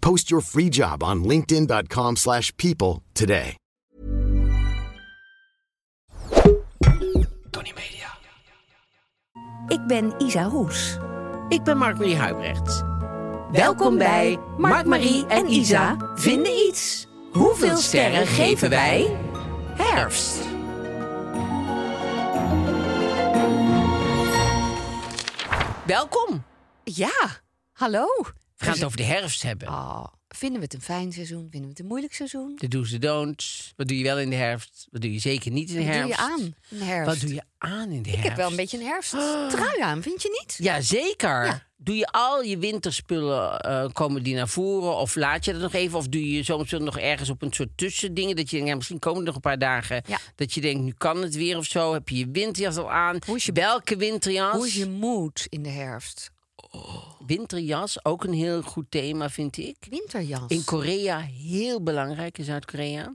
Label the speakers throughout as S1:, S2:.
S1: Post your free job on linkedin.com/people slash people today.
S2: Ik ben Isa Hoes.
S3: Ik ben Mark-Marie Huibrecht.
S2: Welkom bij Mark, Marie en Isa Ah, vinden iets. Hoeveel sterren geven wij?
S3: Herfst. Welkom.
S2: Ja, hallo.
S3: We gaan het over de herfst hebben.
S2: Oh, vinden we het een fijn seizoen? Vinden we het een moeilijk seizoen?
S3: De do's, de don'ts. Wat doe je wel in de herfst? Wat doe je zeker niet in de
S2: Wat doe je
S3: herfst?
S2: aan in de herfst?
S3: Wat doe je aan in de herfst?
S2: Ik heb wel een beetje een herfsttrui aan, vind je niet?
S3: Ja, zeker. Doe je al je winterspullen, eh, komen die naar voren? Of laat je dat nog even? Of doe je soms nog ergens op een soort tussendingen? Dat je denkt, ja, misschien komen er nog een paar dagen.
S2: Ja.
S3: Dat je denkt, nu kan het weer of zo. Heb je je winterjas al aan?
S2: Hoe is je-
S3: Welke winterjas?
S2: Hoe is je mood in de herfst?
S3: Winterjas, ook een heel goed thema, vind ik.
S2: Winterjas.
S3: In Korea heel belangrijk, in Zuid-Korea.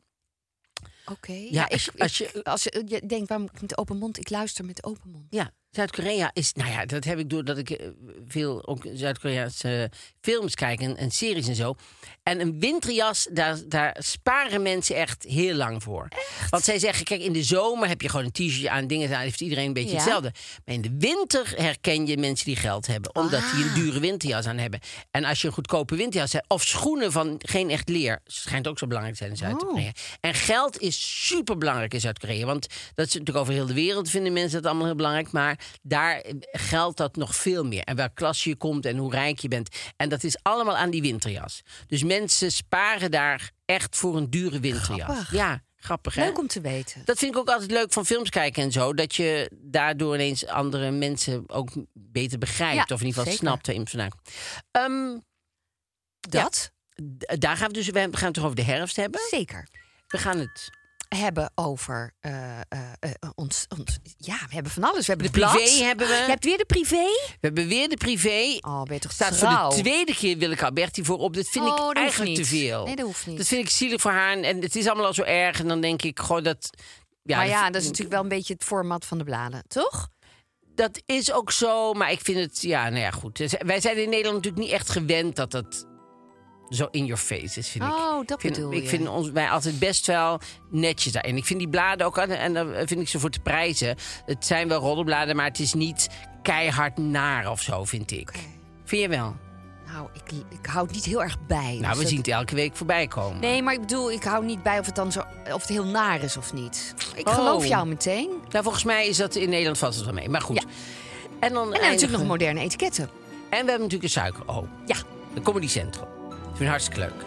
S2: Oké. Ja, ik-
S3: als je-
S2: ik-
S3: als
S2: als,
S3: je-
S2: je, eh, je denkt, waarom met open mond? Ik luister met open mond.
S3: Ja, Zuid-Korea is, nou ja, dat heb ik doordat ik eh, veel ook Zuid-Koreaanse eh, films kijk en, en series en zo. En een winterjas, daar, daar sparen mensen echt heel lang voor. Want zij zeggen, kijk, in de zomer heb je gewoon een t-shirtje aan, dingen aan, heeft iedereen een beetje
S2: Ja.
S3: hetzelfde. Maar in de winter herken je mensen die geld hebben, omdat die een dure winterjas aan hebben. En als je een goedkope winterjas hebt, of schoenen van geen echt leer, schijnt ook zo belangrijk te zijn in
S2: Oh.
S3: Zuid-Korea. En geld is super belangrijk in Zuid-Korea, want dat is natuurlijk over heel de wereld vinden mensen dat allemaal heel belangrijk, maar daar eh, geldt dat nog veel meer. En welk klas je komt en hoe rijk je bent. En dat is allemaal aan die winterjas. Dus mensen sparen daar echt voor een dure winterjas.
S2: Grappig.
S3: Ja, grappig hè?
S2: Leuk om te weten.
S3: Dat vind ik ook altijd leuk van films kijken en zo. Dat je daardoor ineens andere mensen ook beter begrijpt.
S2: Ja,
S3: of in ieder geval
S2: zeker.
S3: snapt waar iemand vandaan komt. Ehm,
S2: Dat?
S3: d- daar gaan we dus. We gaan het toch over de herfst hebben.
S2: Zeker.
S3: We gaan het.
S2: hebben over eh, eh, eh, ons, ons. Ja, we hebben van alles. We hebben de
S3: Privé
S2: blad.
S3: hebben we.
S2: Je hebt weer de privé.
S3: We hebben weer de privé.
S2: Oh, ben je toch
S3: Staat
S2: trouw.
S3: voor de tweede keer Willeke Alberti voor op. Dat vind
S2: Oh, dat
S3: ik
S2: hoeft
S3: eigenlijk te
S2: niet.
S3: veel.
S2: Nee, dat hoeft niet.
S3: Dat vind ik zielig voor haar. En, en het is allemaal al zo erg. En dan denk ik gewoon dat. Ja,
S2: maar ja,
S3: vind-
S2: dat is natuurlijk wel een beetje het format van de bladen, toch?
S3: dat is ook zo, maar ik vind het, ja, nou ja, goed. Dus Wij zijn in Nederland natuurlijk niet echt gewend dat dat zo in your face is, vind ik.
S2: Oh, dat
S3: Ik vind,
S2: bedoel
S3: Ik
S2: je.
S3: vind ons, wij altijd best wel netjes daarin. Ik vind die bladen ook, en daar vind ik ze voor te prijzen. Het zijn wel roddelbladen, maar het is niet keihard naar of zo, vind ik. Vind je wel?
S2: Nou, ik, ik hou het niet heel erg bij. Dus
S3: Nou, we
S2: dat-
S3: zien het elke week voorbij komen.
S2: Nee, maar ik bedoel, ik hou niet bij of het dan zo, of het heel naar is of niet. Ik
S3: Oh.
S2: geloof jou meteen. En
S3: Nou, volgens mij is dat in Nederland vast wel mee. Maar goed.
S2: Ja.
S3: En dan
S2: dan natuurlijk nog
S3: eindigen-
S2: moderne etiketten.
S3: En we hebben natuurlijk een suikeroom.
S2: Ja.
S3: De Comedy Centrum. Dat vind ik hartstikke leuk.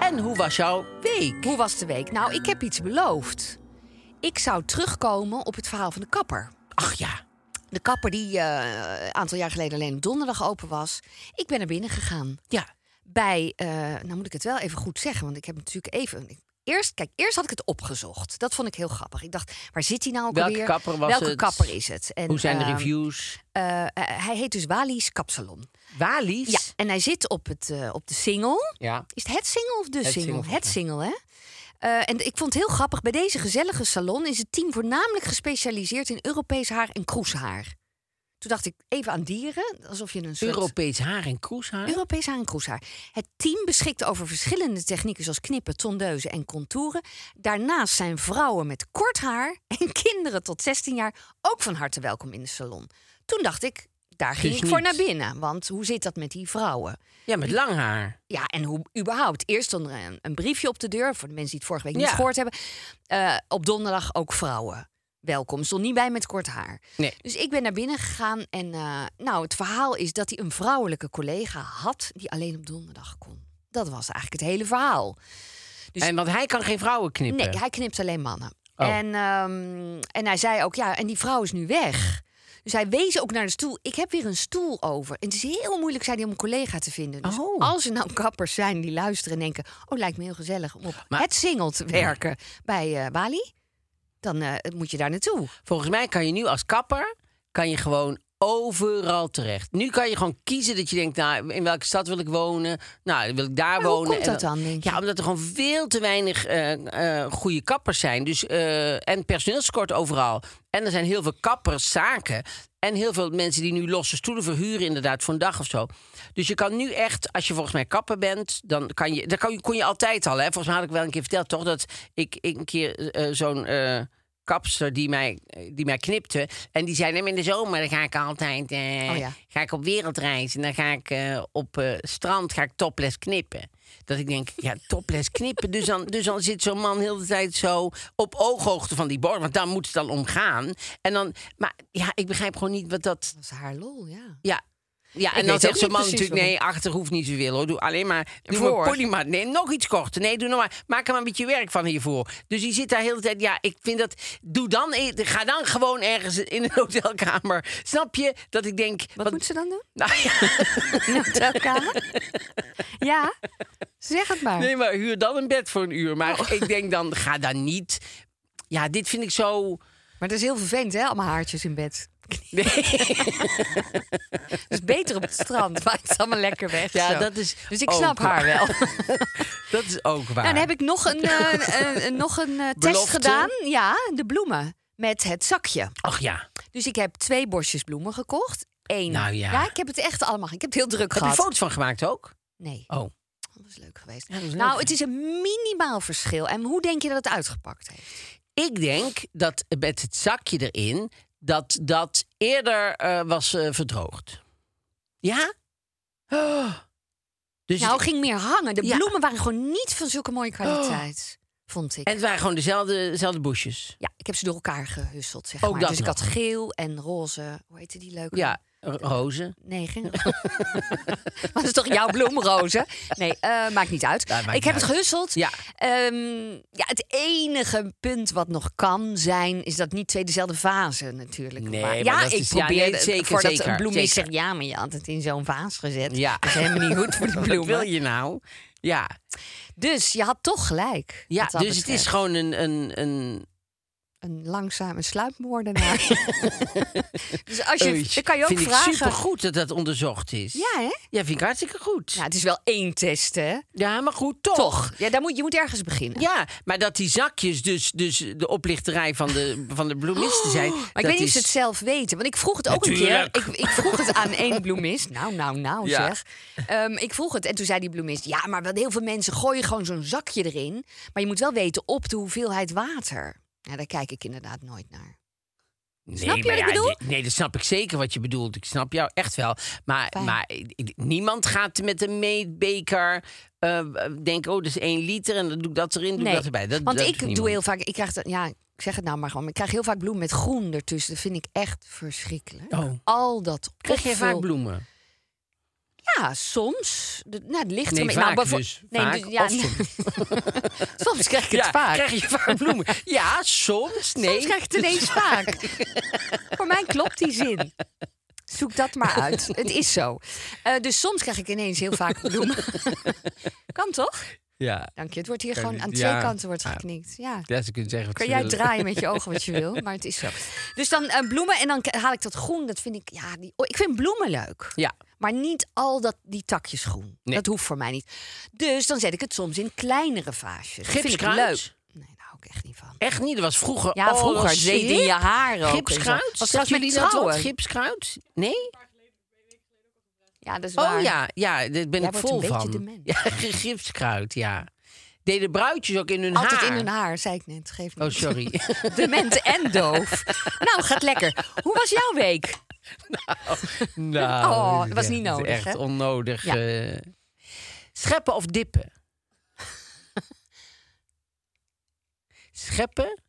S3: En hoe was jouw week?
S2: Hoe was de week? Nou, ik heb iets beloofd. Ik zou terugkomen op het verhaal van de kapper.
S3: Ach ja,
S2: De kapper die eh, een aantal jaar geleden alleen op donderdag open was. Ik ben er binnen gegaan.
S3: ja.
S2: Bij, eh, nou moet ik het wel even goed zeggen, want ik heb natuurlijk even... Eerst, kijk, eerst had ik het opgezocht. Dat vond ik heel grappig. Ik dacht, waar zit hij nou ook
S3: Welke
S2: alweer?
S3: kapper was
S2: Welke
S3: het?
S2: kapper is het? En,
S3: Hoe zijn de
S2: ehm,
S3: reviews?
S2: eh, eh, hij heet dus Wali's Kapsalon.
S3: Walies?
S2: Ja, en hij zit op, het, eh, op de single.
S3: Ja.
S2: Is het het single of de
S3: Het
S2: single?
S3: single,
S2: Het
S3: ja.
S2: single, hè? Eh, en ik vond het heel grappig. Bij deze gezellige salon is het team voornamelijk gespecialiseerd in Europees haar en kroeshaar. Toen dacht ik even aan dieren, alsof je een soort...
S3: Europees haar en kroeshaar?
S2: Europees haar en kroeshaar. Het team beschikt over verschillende technieken zoals knippen, tondeuzen en contouren. Daarnaast zijn vrouwen met kort haar en kinderen tot 16 jaar ook van harte welkom in de salon. Toen dacht ik, daar ging
S3: Dus
S2: ik voor
S3: niet.
S2: naar binnen. Want hoe zit dat met die vrouwen?
S3: Ja, met lang haar.
S2: Ja, en hoe überhaupt? Eerst stond er een, een briefje op de deur voor de mensen die het vorige week
S3: Ja.
S2: niet gehoord hebben. Eh, op donderdag ook vrouwen. Welkom. Stond niet bij met kort haar.
S3: Nee.
S2: Dus ik ben naar binnen gegaan en eh, nou, het verhaal is dat hij een vrouwelijke collega had die alleen op donderdag kon. Dat was eigenlijk het hele verhaal. Dus-
S3: En want hij kan geen vrouwen knippen.
S2: Nee, hij knipt alleen mannen.
S3: Oh.
S2: En, ehm, en hij zei ook, ja, en die vrouw is nu weg. Dus hij wees ook naar de stoel. Ik heb weer een stoel over. En het is heel moeilijk, zei hij, om een collega te vinden. Dus
S3: Oh.
S2: als er nou kappers zijn die luisteren en denken... oh, lijkt me heel gezellig om op
S3: Maar-
S2: het single te werken bij eh Wali... dan eh, moet je daar naartoe.
S3: Volgens mij kan je nu als kapper kan je gewoon overal terecht. Nu kan je gewoon kiezen dat je denkt, nou, in welke stad wil ik wonen? Nou, wil ik daar
S2: Maar hoe
S3: wonen?
S2: komt
S3: En
S2: dat dan, denk je?
S3: Ja, omdat er gewoon veel te weinig eh, eh, goede kappers zijn. Dus, eh, en personeelskort overal. En er zijn heel veel kapperszaken. En heel veel mensen die nu losse stoelen verhuren, inderdaad, voor een dag of zo. Dus je kan nu echt, als je volgens mij kapper bent, dan kan je, dat kan, je- kon je altijd al. Hè? Volgens mij had ik wel een keer verteld, toch? Dat ik, ik een keer eh, zo'n eh, kapster die mij, die mij knipte. En die zei, nee, maar in de zomer dan ga ik altijd eh,
S2: Oh ja.
S3: ga ik op wereldreis. En dan ga ik eh, op eh, strand ga ik topless knippen. Dat ik denk, ja, topless knippen. Dus dan, dus dan zit zo'n man heel de tijd zo op ooghoogte van die borst. Want daar moet het dan om gaan. En dan, maar ja, ik begrijp gewoon niet wat dat...
S2: Dat is haar lol, ja.
S3: Ja. Ja,
S2: weet
S3: en dan
S2: ook
S3: zegt zo'n
S2: niet
S3: man
S2: precies
S3: natuurlijk... nee, achter hoeft niet zoveel hoor. Doe alleen maar... Doe
S2: Voor.
S3: maar pony maar. Nee, nog iets korter. Nee, doe nog maar... Maak er maar een beetje werk van hiervoor. Dus die zit daar heel de tijd... Ja, ik vind dat... Doe dan... e- Ga dan gewoon ergens in een hotelkamer. Snap je? Dat ik denk...
S2: Wat, moet ze dan doen?
S3: Nou ja...
S2: In een hotelkamer? ja, zeg het maar.
S3: Nee, maar huur dan een bed voor een uur.
S2: Oh.
S3: Maar ik denk dan, ga daar niet. Ja, dit vind ik zo.
S2: Maar dat is heel vervelend, hè? Allemaal haartjes in bed.
S3: Nee.
S2: Het is beter op het strand, maar het is allemaal lekker weg.
S3: Ja,
S2: zo.
S3: dat is
S2: dus ik
S3: ook
S2: snap haar wel.
S3: waar. Dat is ook waar.
S2: Nou, dan heb ik nog een, eh, eh, eh, nog een eh, test
S3: Belofte?
S2: gedaan. Ja, de bloemen. Met het zakje.
S3: Ach ja.
S2: Dus ik heb twee borstjes bloemen gekocht. Eén.
S3: Nou ja.
S2: ik heb het echt allemaal. Ik heb het heel druk
S3: Heb je
S2: gehad.
S3: foto's van gemaakt ook?
S2: Nee,
S3: Oh.
S2: dat was leuk geweest.
S3: dat was
S2: nou,
S3: leuk.
S2: het is een minimaal verschil. En hoe denk je dat het uitgepakt heeft?
S3: Ik denk dat met het zakje erin, dat dat eerder eh, was eh, verdroogd. Ja? Oh. Dus
S2: nou,
S3: het-
S2: ging meer hangen. De
S3: Ja. Oh.
S2: bloemen waren gewoon niet van zulke mooie kwaliteit, vond ik.
S3: En het waren gewoon dezelfde, dezelfde boesjes.
S2: ja, ik heb ze door elkaar gehusseld, zeg
S3: Ook
S2: maar.
S3: dat
S2: dus ik
S3: nog.
S2: had geel en roze. Hoe heette die leuke?
S3: Ja, ro- rozen.
S2: Nee, geen Dat is toch jouw bloemrozen? Nee, eh, maakt niet uit.
S3: Ja, maakt
S2: ik
S3: niet
S2: heb
S3: uit.
S2: het gehusseld.
S3: Ja.
S2: Ehm, ja, het enige punt wat nog kan zijn... is dat niet twee dezelfde vazen natuurlijk.
S3: Nee, maar
S2: waren. ja,
S3: dat
S2: ik
S3: is- ja,
S2: probeer
S3: nee, zeker,
S2: voordat
S3: zeker,
S2: een bloemist
S3: zeker.
S2: zegt... ja, maar je had het in zo'n vaas gezet.
S3: Ja.
S2: Dat is helemaal niet goed voor die
S3: Wat wil
S2: bloemen.
S3: je nou? Ja,
S2: Dus je had toch gelijk.
S3: ja
S2: wat
S3: dus
S2: dat
S3: het is
S2: betreft.
S3: gewoon een, een, een,
S2: Een langzame sluipmoordenaar. dus als je...
S3: Oei,
S2: Dan kan je ook
S3: vind
S2: vragen...
S3: ik supergoed dat dat onderzocht is.
S2: Ja, hè?
S3: Ja, vind ik hartstikke goed.
S2: Ja,
S3: Ja,
S2: het is wel één test, hè?
S3: maar goed, toch.
S2: Toch. Ja, daar moet, je moet ergens beginnen.
S3: Ja, maar dat die zakjes dus, dus de oplichterij van de, van de bloemisten zijn.
S2: Oh, Maar ik
S3: dat
S2: weet niet of ze
S3: is-
S2: het zelf weten. Want ik vroeg het ook
S3: Natuurlijk.
S2: een keer. Ik, ik vroeg het aan één bloemist. Nou, nou, nou
S3: Ja.
S2: zeg. Ehm, ik vroeg het en toen zei die bloemist... Ja, maar wat heel veel mensen gooien gewoon zo'n zakje erin. Maar je moet wel weten op de hoeveelheid water. Nou, daar kijk ik inderdaad nooit naar.
S3: Nee,
S2: Snap je
S3: maar
S2: wat
S3: ja,
S2: ik bedoel?
S3: nee, Nee, dat snap ik zeker wat je bedoelt. Ik snap jou echt wel. Maar,
S2: Fijn.
S3: maar ik- ik- niemand gaat met een meetbeker eh denken... oh, dat is één liter en dan doe ik dat erin, doe ik dat erbij. Dat,
S2: want
S3: dat
S2: ik
S3: doet
S2: doe
S3: niemand.
S2: heel vaak... Ik krijg, dat, ja, ik zeg het nou maar gewoon. maar Ik krijg heel vaak bloemen met groen ertussen. Dat vind ik echt verschrikkelijk.
S3: Oh.
S2: Al dat
S3: Krijg je vaak
S2: opvul-
S3: bloemen?
S2: Ja, soms. De, nou, het ligt
S3: Nee,
S2: er maar-
S3: vaak
S2: nou, bevo-
S3: dus.
S2: Nee,
S3: Vaak
S2: dus- ja,
S3: of soms.
S2: soms krijg ik het
S3: ja,
S2: vaak.
S3: Krijg je vaak bloemen? Ja, soms. Nee.
S2: Soms krijg je het ineens vaak. Voor mij klopt die zin. Zoek dat maar uit. Het is zo. Eh, dus soms krijg ik ineens heel vaak bloemen. kan toch?
S3: Ja.
S2: Dank je. Het wordt hier gewoon aan
S3: Ja.
S2: twee kanten wordt geknikt. Ja.
S3: Ja, ze kunnen zeggen wat
S2: Kan
S3: ze
S2: jij
S3: willen.
S2: draaien met je ogen wat je wil, maar het is zo. Dus dan eh, bloemen en dan k- haal ik dat groen. Dat vind ik, ja, die, oh, ik vind bloemen leuk.
S3: Ja.
S2: Maar niet al dat, die takjes groen.
S3: Nee.
S2: Dat hoeft voor mij niet. Dus dan zet ik het soms in kleinere vaasjes. Dat vind ik
S3: Gipskruid?
S2: leuk. Nee, daar hou ik echt niet van.
S3: Echt niet, dat was vroeger.
S2: Ja,
S3: oh,
S2: vroeger.
S3: dat
S2: Het
S3: was
S2: zweet in
S3: hip.
S2: je haar ook en zo.
S3: Gipskruid?
S2: Was
S3: Zeggen
S2: dat met
S3: jullie dat
S2: trouwen?
S3: wat? Gipskruid? Nee?
S2: Ja, dat is waar.
S3: Oh ja, ja, daar ben
S2: Jij
S3: ik
S2: wordt
S3: vol
S2: een beetje
S3: van.
S2: dement.
S3: Ja, gipskruid, ja. Deden bruidjes ook in hun
S2: Altijd
S3: haar?
S2: in hun haar, zei ik net. Geef me
S3: Oh, sorry.
S2: Dement en doof. nou, gaat lekker. Hoe was jouw week?
S3: Nou, nou
S2: Oh,
S3: dit is
S2: dat was niet
S3: echt-
S2: nodig,
S3: Echt
S2: hè?
S3: onnodig.
S2: Ja.
S3: eh. scheppen of dippen? scheppen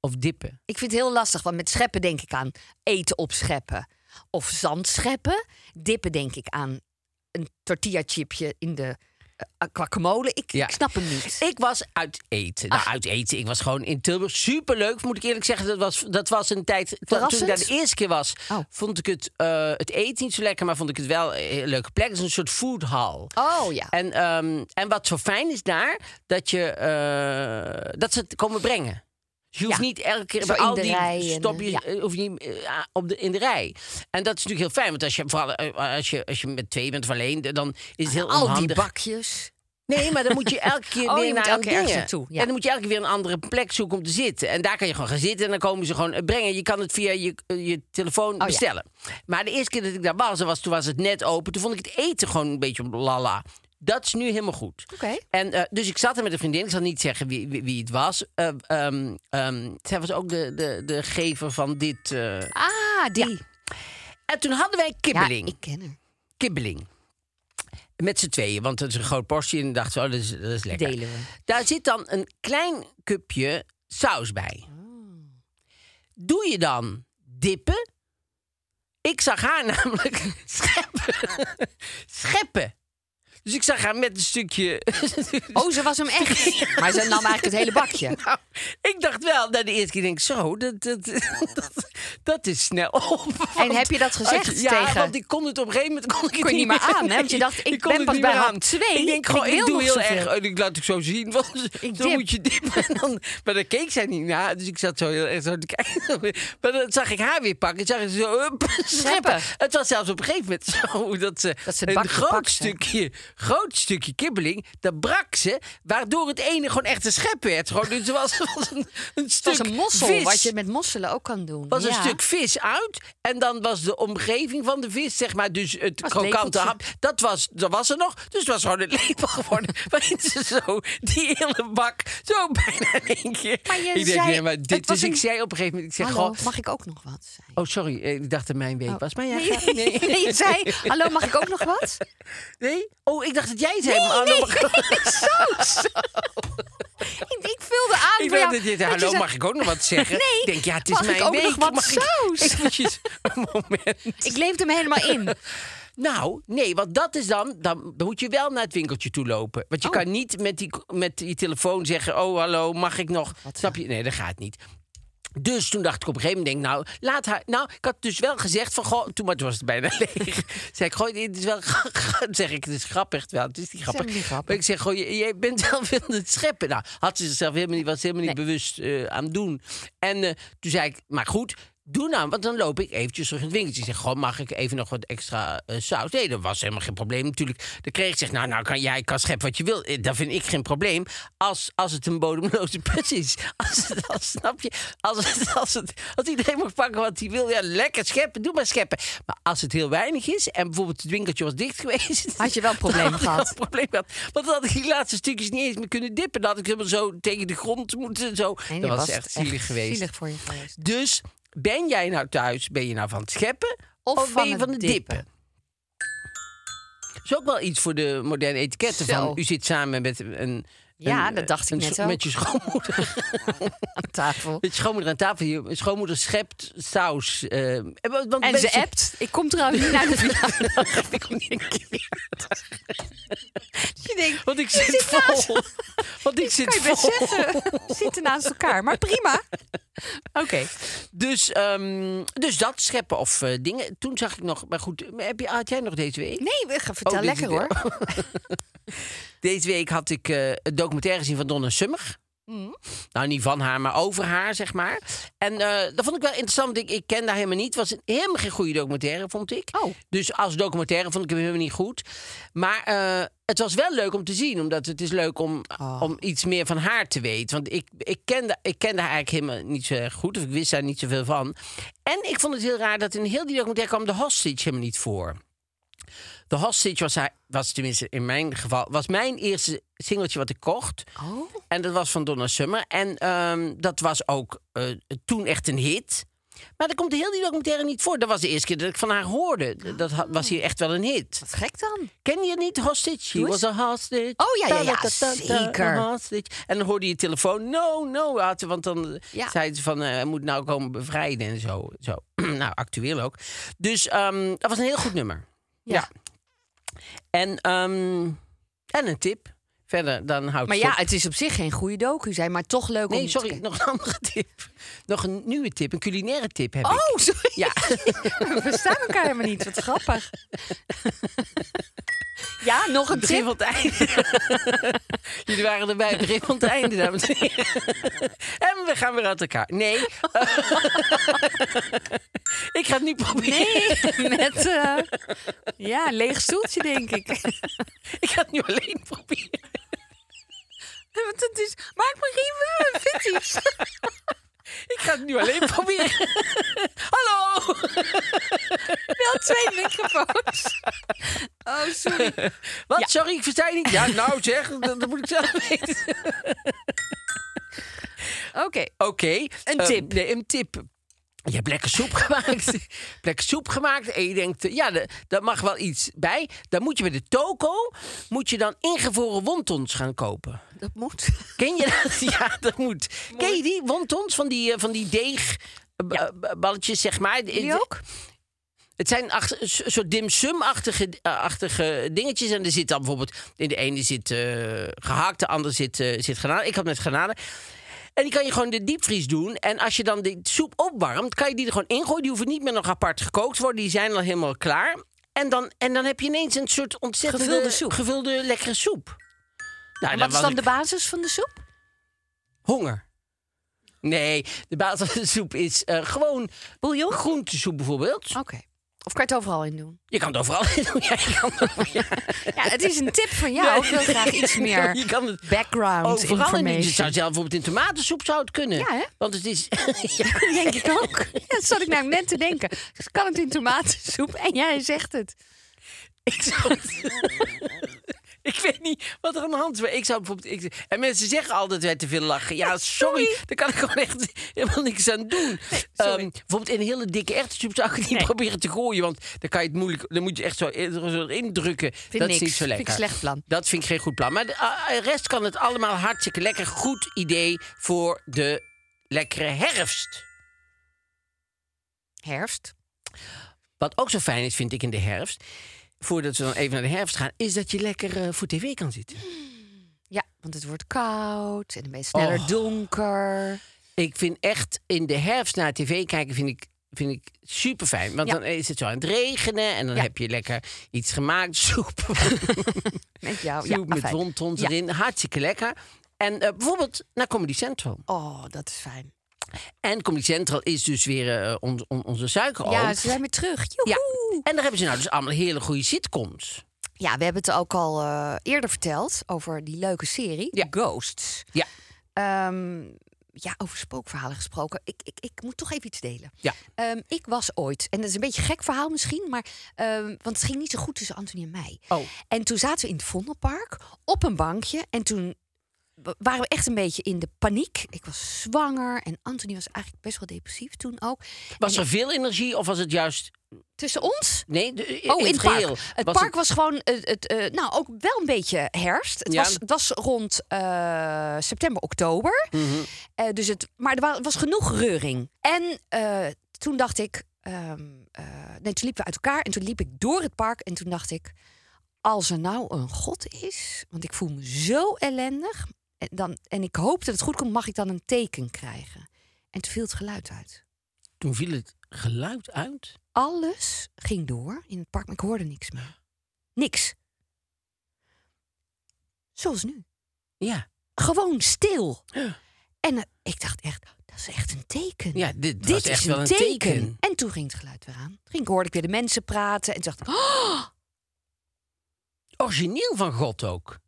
S3: of dippen?
S2: Ik vind het heel lastig, want met scheppen denk ik aan eten opscheppen of zand scheppen. Dippen denk ik aan een tortilla chipje in de eh, guacamole. Ik,
S3: Ja.
S2: ik snap hem niet.
S3: Ik was uit eten. Nou, uit eten. Ik was gewoon in Tilburg. Superleuk, moet ik eerlijk zeggen. Dat was, dat was een tijd. Toen, toen ik daar de
S2: Verrassend?
S3: eerste keer was,
S2: Oh.
S3: vond ik het, eh, het eten niet zo lekker, maar vond ik het wel een hele leuke plek. Het is een soort food hall.
S2: Oh ja.
S3: En, ehm, en wat zo fijn is daar, dat, je, eh, dat ze het komen brengen. Dus je hoeft
S2: Ja.
S3: niet elke keer
S2: Zo
S3: bij
S2: in
S3: al
S2: de
S3: die
S2: rij en, eh,
S3: stopjes
S2: ja.
S3: eh, hoef je niet, eh, ah, op de, in de rij. En dat is natuurlijk heel fijn, want als je, vooral, eh, als je, als je met twee bent of alleen, dan is het heel
S2: Al die
S3: onhandig.
S2: bakjes.
S3: Nee, maar dan moet je elke keer
S2: Oh,
S3: weer
S2: je moet
S3: naar
S2: elke keer ergens
S3: dingen.
S2: naartoe, ja.
S3: En dan moet je elke keer weer een andere plek zoeken om te zitten. En daar kan je gewoon gaan zitten en dan komen ze gewoon eh, brengen. Je kan het via je, eh, je telefoon
S2: Oh, ja.
S3: bestellen. Maar de eerste keer dat ik daar was, was, toen was het net open. Toen vond ik het eten gewoon een beetje lala. Dat is nu helemaal goed.
S2: Oké.
S3: En, eh, dus ik zat er met een vriendin. Ik zal niet zeggen wie, wie, wie het was. Eh, ehm, ehm, zij was ook de, de, de gever van dit. eh.
S2: Ah, die.
S3: En toen hadden wij
S2: Ja,
S3: kibbeling
S2: ik ken haar.
S3: kibbeling. Met z'n tweeën, want het is een groot portie. En dachten we, oh, dat is, dat is lekker.
S2: Delen we.
S3: Daar zit dan een klein cupje saus bij.
S2: Oh.
S3: Doe je dan dippen? Ik zag haar namelijk scheppen. scheppen. Dus ik zag haar met een stukje...
S2: Oh, ze was hem echt. Maar ze nam eigenlijk het hele bakje.
S3: Nou, ik dacht wel, na de eerste keer denk ik, zo, dat, dat, dat, dat is snel op. Want
S2: heb je dat
S3: als je-
S2: gezegd
S3: ja,
S2: tegen-
S3: want ik kon het op een gegeven moment kon ik het
S2: Kon je niet meer aan, hè? Want je
S3: Nee,
S2: dacht, ik
S3: kon
S2: ben
S3: het
S2: pas
S3: niet
S2: bij
S3: meer
S2: hap
S3: aan.
S2: twee
S3: Ik denk
S2: en
S3: gewoon,
S2: ik
S3: ik,
S2: wil
S3: doe
S2: nog
S3: heel erg,
S2: zoveel.
S3: eh, ik laat ik zo zien, want
S2: Ik
S3: dan
S2: dip.
S3: moet je dippen. En dan, maar dan keek zij niet naar, dus ik zat zo heel erg zo te kijken. Maar dan zag ik haar weer pakken, en zag ik ze zo hup, scheppen. Het was zelfs op een gegeven moment zo dat ze,
S2: Dat ze het
S3: een
S2: bakje
S3: groot
S2: pakt, hè?
S3: stukje, groot stukje kibbeling, dat brak ze, waardoor het ene gewoon echt een schep werd. Gewoon, dus het was, was een, een
S2: Het
S3: stuk
S2: was een mossel,
S3: vis.
S2: wat je met mosselen ook kan doen.
S3: was een
S2: Ja.
S3: stuk vis uit en dan was de omgeving van de vis, zeg maar, dus het
S2: Was
S3: krokante
S2: lepeltje.
S3: hap, dat was, dat was er nog. Dus het was gewoon een lepel geworden, waarin ze zo die hele bak zo bijna in één keer.
S2: Maar je
S3: ik denk,
S2: zei,
S3: nee, maar
S2: het
S3: dit,
S2: was
S3: dus ik
S2: een-
S3: zei op een gegeven moment, ik zeg,
S2: Hallo,
S3: goh,
S2: mag ik ook nog wat? Zei.
S3: oh sorry, eh, ik dacht dat mijn week was, maar ja,
S2: Nee,
S3: ga- nee.
S2: je zei, hallo, mag ik ook nog wat?
S3: Nee? Oh, ik dacht dat jij het zei.
S2: Nee,
S3: maar-
S2: nee,
S3: oh, dan-
S2: Saus. ik, ik vulde aan
S3: Ik
S2: voor
S3: dacht
S2: jou.
S3: dat je zei,
S2: Maar toen
S3: hallo,
S2: zei-
S3: mag ik ook nog wat zeggen?
S2: Nee,
S3: Ik denk, ja, het is
S2: mag ik
S3: mijn
S2: ook
S3: week.
S2: nog wat
S3: mag ik-
S2: saus?
S3: Eventjes een moment.
S2: Ik leefde hem helemaal in.
S3: Nou, nee, want dat is dan... Dan moet je wel naar het winkeltje toe lopen. Want
S2: Oh.
S3: je kan niet met die, met die telefoon zeggen... oh, hallo, mag ik nog? Snap je? Nee, dat gaat niet. Dus toen dacht ik op een gegeven moment, denk, ik, nou, laat haar... Nou, ik had dus wel gezegd van, goh, toen, maar toen was het bijna leeg. zei ik, goh, het is wel... zeg ik, het is grappig, wel, het is niet grappig.
S2: Zeg niet grappig.
S3: Maar ik zeg, goh, je- jij bent wel veel aan het scheppen. Nou, had ze zichzelf helemaal niet, was ze helemaal niet bewust eh, aan het doen. En eh, toen zei ik, maar goed, doe nou, want dan loop ik eventjes terug in het winkeltje. Ik zeg, goh, mag ik even nog wat extra eh, saus? Nee, dat was helemaal geen probleem natuurlijk. Dan kreeg ik zeg, nou, nou kan jij kan scheppen wat je wil. Eh, Dat vind ik geen probleem. Als, als het een bodemloze put is. Als, het- als, snap je? Als, het, als, het, als iedereen mag pakken wat hij wil, ja, lekker scheppen, doe maar scheppen. Maar als het heel weinig is en bijvoorbeeld het winkeltje was dicht geweest...
S2: Had je wel een probleem
S3: dan had ik wel
S2: gehad.
S3: een probleem gehad. Want dan had ik die laatste stukjes niet eens meer kunnen dippen. Dan had ik helemaal zo tegen de grond moeten. Zo.
S2: Nee,
S3: dat
S2: je
S3: was, echt zielig geweest.
S2: zielig voor je geweest.
S3: Dus ben jij nou thuis, ben je nou van het scheppen of,
S2: Of
S3: ben
S2: van
S3: je
S2: het
S3: van het dippen?
S2: dippen?
S3: Dat is ook wel iets voor de moderne etiketten
S2: Zo.
S3: van u zit samen met een...
S2: Ja,
S3: een, eh,
S2: dat dacht ik
S3: een
S2: net
S3: scho-
S2: ook.
S3: Met je schoonmoeder.
S2: Aan tafel.
S3: met je schoonmoeder aan tafel. Je schoonmoeder schept saus. eh, want
S2: En
S3: mensen-
S2: ze appt. Ik kom trouwens niet naar de verjaardag.
S3: Ik kom niet een keer.
S2: Je denkt,
S3: Want ik
S2: je
S3: zit
S2: zit naast-
S3: vol. Want ik zit
S2: Kan je best
S3: vol.
S2: zeggen. We Zitten naast elkaar, maar prima. Oké.
S3: Dus, ehm, dus dat, scheppen of eh, dingen. Toen zag ik nog, maar goed, heb je, had jij nog deze week?
S2: Nee, we gaan vertel
S3: Oh, dit is
S2: lekker
S3: het-
S2: hoor.
S3: Deze week had ik eh een documentaire gezien van Donna Summer. Nou, niet van haar, maar over haar, zeg maar. En eh, dat vond ik wel interessant. want Ik, ik ken daar helemaal niet. Het was een- helemaal geen goede documentaire, vond ik.
S2: Oh.
S3: Dus als documentaire vond ik hem helemaal niet goed. Maar eh, het was wel leuk om te zien. Omdat het is leuk om, om iets meer van haar te weten. Want ik, ik, kende, ik kende haar eigenlijk helemaal niet zo erg goed. Of ik wist daar niet zoveel van. En ik vond het heel raar dat in heel die documentaire kwam de hostage helemaal niet voor. De Hostage was, haar, was tenminste in mijn geval... was mijn eerste singeltje wat ik kocht.
S2: Oh.
S3: En dat was van Donna Summer. En ehm, dat was ook eh, toen echt een hit. Maar daar komt heel die documentaire niet voor. Dat was de eerste keer dat ik van haar hoorde. D- Dat ha- was hier echt wel een hit.
S2: Wat gek dan.
S3: Ken je niet Hostage? She
S2: Doe eens.
S3: was a hostage.
S2: Oh, ja, ja, ja,
S3: Ta-ta-ta-ta-ta,
S2: zeker.
S3: a hostage. En dan hoorde je telefoon. No, no. had ze- Want dan
S2: Ja.
S3: zei ze van, eh, hij moet nou komen bevrijden en zo. zo. nou, actueel ook. Dus ehm, dat was een heel goed nummer. Ja. En, ehm, en een tip. Verder, dan houdt
S2: Maar
S3: het
S2: ja,
S3: op.
S2: het is op zich geen goede docu zijn, maar toch leuk om
S3: Nee,
S2: te
S3: sorry,
S2: kijken.
S3: nog een andere tip. Nog een nieuwe tip, een culinaire tip heb ik.
S2: Oh, sorry.
S3: Ja.
S2: We verstaan elkaar helemaal niet. Wat grappig. Ja, nog een
S3: Begin
S2: tip.
S3: van het einde. Jullie waren erbij, begin van het einde, dames en heren. En we gaan weer uit elkaar. Nee. ik ga het niet proberen.
S2: Nee, met eh, ja, een leeg stoeltje, denk ik.
S3: Ik ga het nu alleen proberen.
S2: Want het is, maak me riemen, vind iets.
S3: Ik ga het nu alleen proberen. Hallo!
S2: Wel twee microfoons. Oh, sorry.
S3: Wat? Sorry, ik versta je niet. Ja, nou zeg, dat, dat moet ik zelf weten.
S2: Oké.
S3: Oké.
S2: Een
S3: eh,
S2: tip.
S3: nee, een tip. Je hebt lekker soep gemaakt. lekker soep gemaakt. En je denkt, eh, ja, de- daar mag wel iets bij. Dan moet je bij de toko moet je dan ingevroren wontons gaan kopen.
S2: Dat moet.
S3: Ken je dat? Ja, dat moet. Ken je die wontons van die, eh, van die deegballetjes, zeg maar?
S2: Jullie ook?
S3: Het zijn acht- een soort dimsum-achtige eh, achtige dingetjes. En er zit dan bijvoorbeeld... In de ene zit eh, gehakt, de andere zit, eh zit granade. Ik had met granade. En die kan je gewoon in de diepvries doen. En als je dan de soep opwarmt, kan je die er gewoon ingooien. Die hoeven niet meer nog apart gekookt te worden. Die zijn al helemaal klaar. En dan, en dan heb je ineens een soort ontzettend
S2: Gevulde soep.
S3: gevulde lekkere soep. Nou, daar
S2: En wat
S3: was
S2: is dan
S3: ik-
S2: de basis van de soep?
S3: Honger. Nee, de basis van de soep is eh, gewoon
S2: Bouillon? Oh.
S3: groentesoep bijvoorbeeld.
S2: Oké. Of kan je het overal in doen?
S3: Je kan het overal in doen. Ja, je kan het overal-
S2: Ja, het is een tip van jou. Ik wil graag iets meer
S3: Je kan het
S2: background
S3: overal in doen. Dus Je zou
S2: information.
S3: zelf bijvoorbeeld in tomatensoep zou het kunnen.
S2: Nou, Ja, hè?
S3: Want het is...
S2: denk ik ook. Ja, dat zat ik nou net te denken. Dus kan het in tomatensoep? En jij zegt het.
S3: Ik zou het... Ik weet niet wat er aan de hand is. maar Ik zou bijvoorbeeld... ik- en mensen zeggen altijd wij te veel lachen. Ja, sorry.
S2: sorry.
S3: Daar kan ik gewoon echt helemaal niks aan doen. Ehm, bijvoorbeeld in een hele dikke erwtensoep zou ik het niet proberen te gooien. Want dan kan je het moeilijk... Dan moet je echt zo, zo indrukken. dat is
S2: niks.
S3: niet zo
S2: Vind ik
S3: lekker.
S2: slecht plan.
S3: Dat vind ik geen goed plan. Maar de eh, rest kan het allemaal hartstikke lekker. Goed idee voor de lekkere herfst.
S2: Herfst.
S3: Wat ook zo fijn is, vind ik, in de herfst... Voordat we dan even naar de herfst gaan, is dat je lekker eh, voor tv kan zitten.
S2: Ja, want het wordt koud en dan ben je sneller
S3: Oh.
S2: donker.
S3: Ik vind echt in de herfst naar tv kijken vind ik, vind ik super fijn. Want
S2: Ja.
S3: dan is het zo aan het regenen en dan
S2: Ja.
S3: heb je lekker iets gemaakt. Soep,
S2: Met jou.
S3: soep
S2: ja,
S3: met
S2: afijn.
S3: wontons
S2: Ja.
S3: erin. Hartstikke lekker. En eh, bijvoorbeeld naar Comedy Central.
S2: Oh, dat is fijn.
S3: En Comedy Central is dus weer eh, on- on- onze suikeroom.
S2: Ja, ze zijn weer terug.
S3: Ja.
S2: Joehoe.
S3: En daar hebben ze nou dus allemaal hele goede sitcoms.
S2: Ja, we hebben het ook al eh, eerder verteld over die leuke serie,
S3: Ja.
S2: Ghosts.
S3: Ja.
S2: Ehm, ja, over spookverhalen gesproken. Ik, ik, ik moet toch even iets delen.
S3: Ja.
S2: Ehm, ik was ooit, en dat is een beetje een gek verhaal misschien, maar ehm, want het ging niet zo goed tussen Anthony en mij.
S3: Oh.
S2: En toen zaten we in het Vondelpark op een bankje en toen wa- waren we echt een beetje in de paniek. Ik was zwanger en Anthony was eigenlijk best wel depressief toen ook.
S3: Was er veel energie of was het juist...
S2: Tussen ons
S3: Nee, de- eh,
S2: Oh, in het
S3: geheel.
S2: park. Het
S3: was
S2: park was gewoon, eh, het, eh, nou, ook wel een beetje herfst. Het,
S3: Ja.
S2: was, het was rond eh, september, oktober. Eh, dus het, maar er wa- was genoeg reuring. En eh, toen dacht ik... ehm, eh, nee, toen liepen we uit elkaar en toen liep ik door het park. En toen dacht ik, als er nou een god is... want ik voel me zo ellendig... En, dan, en ik hoop dat het goed komt, mag ik dan een teken krijgen? En toen viel het geluid uit.
S3: Toen viel het geluid uit.
S2: Alles ging door in het park, maar ik hoorde niks meer. Niks. Zoals nu.
S3: Ja,
S2: Gewoon stil. En eh, ik dacht echt, dat is echt een teken.
S3: ja dit,
S2: Dit
S3: was
S2: is
S3: echt
S2: een,
S3: wel een
S2: teken.
S3: teken.
S2: En toen ging het geluid weer aan. Toen hoorde ik weer de mensen praten en toen dacht ik, oh,
S3: origineel van God ook.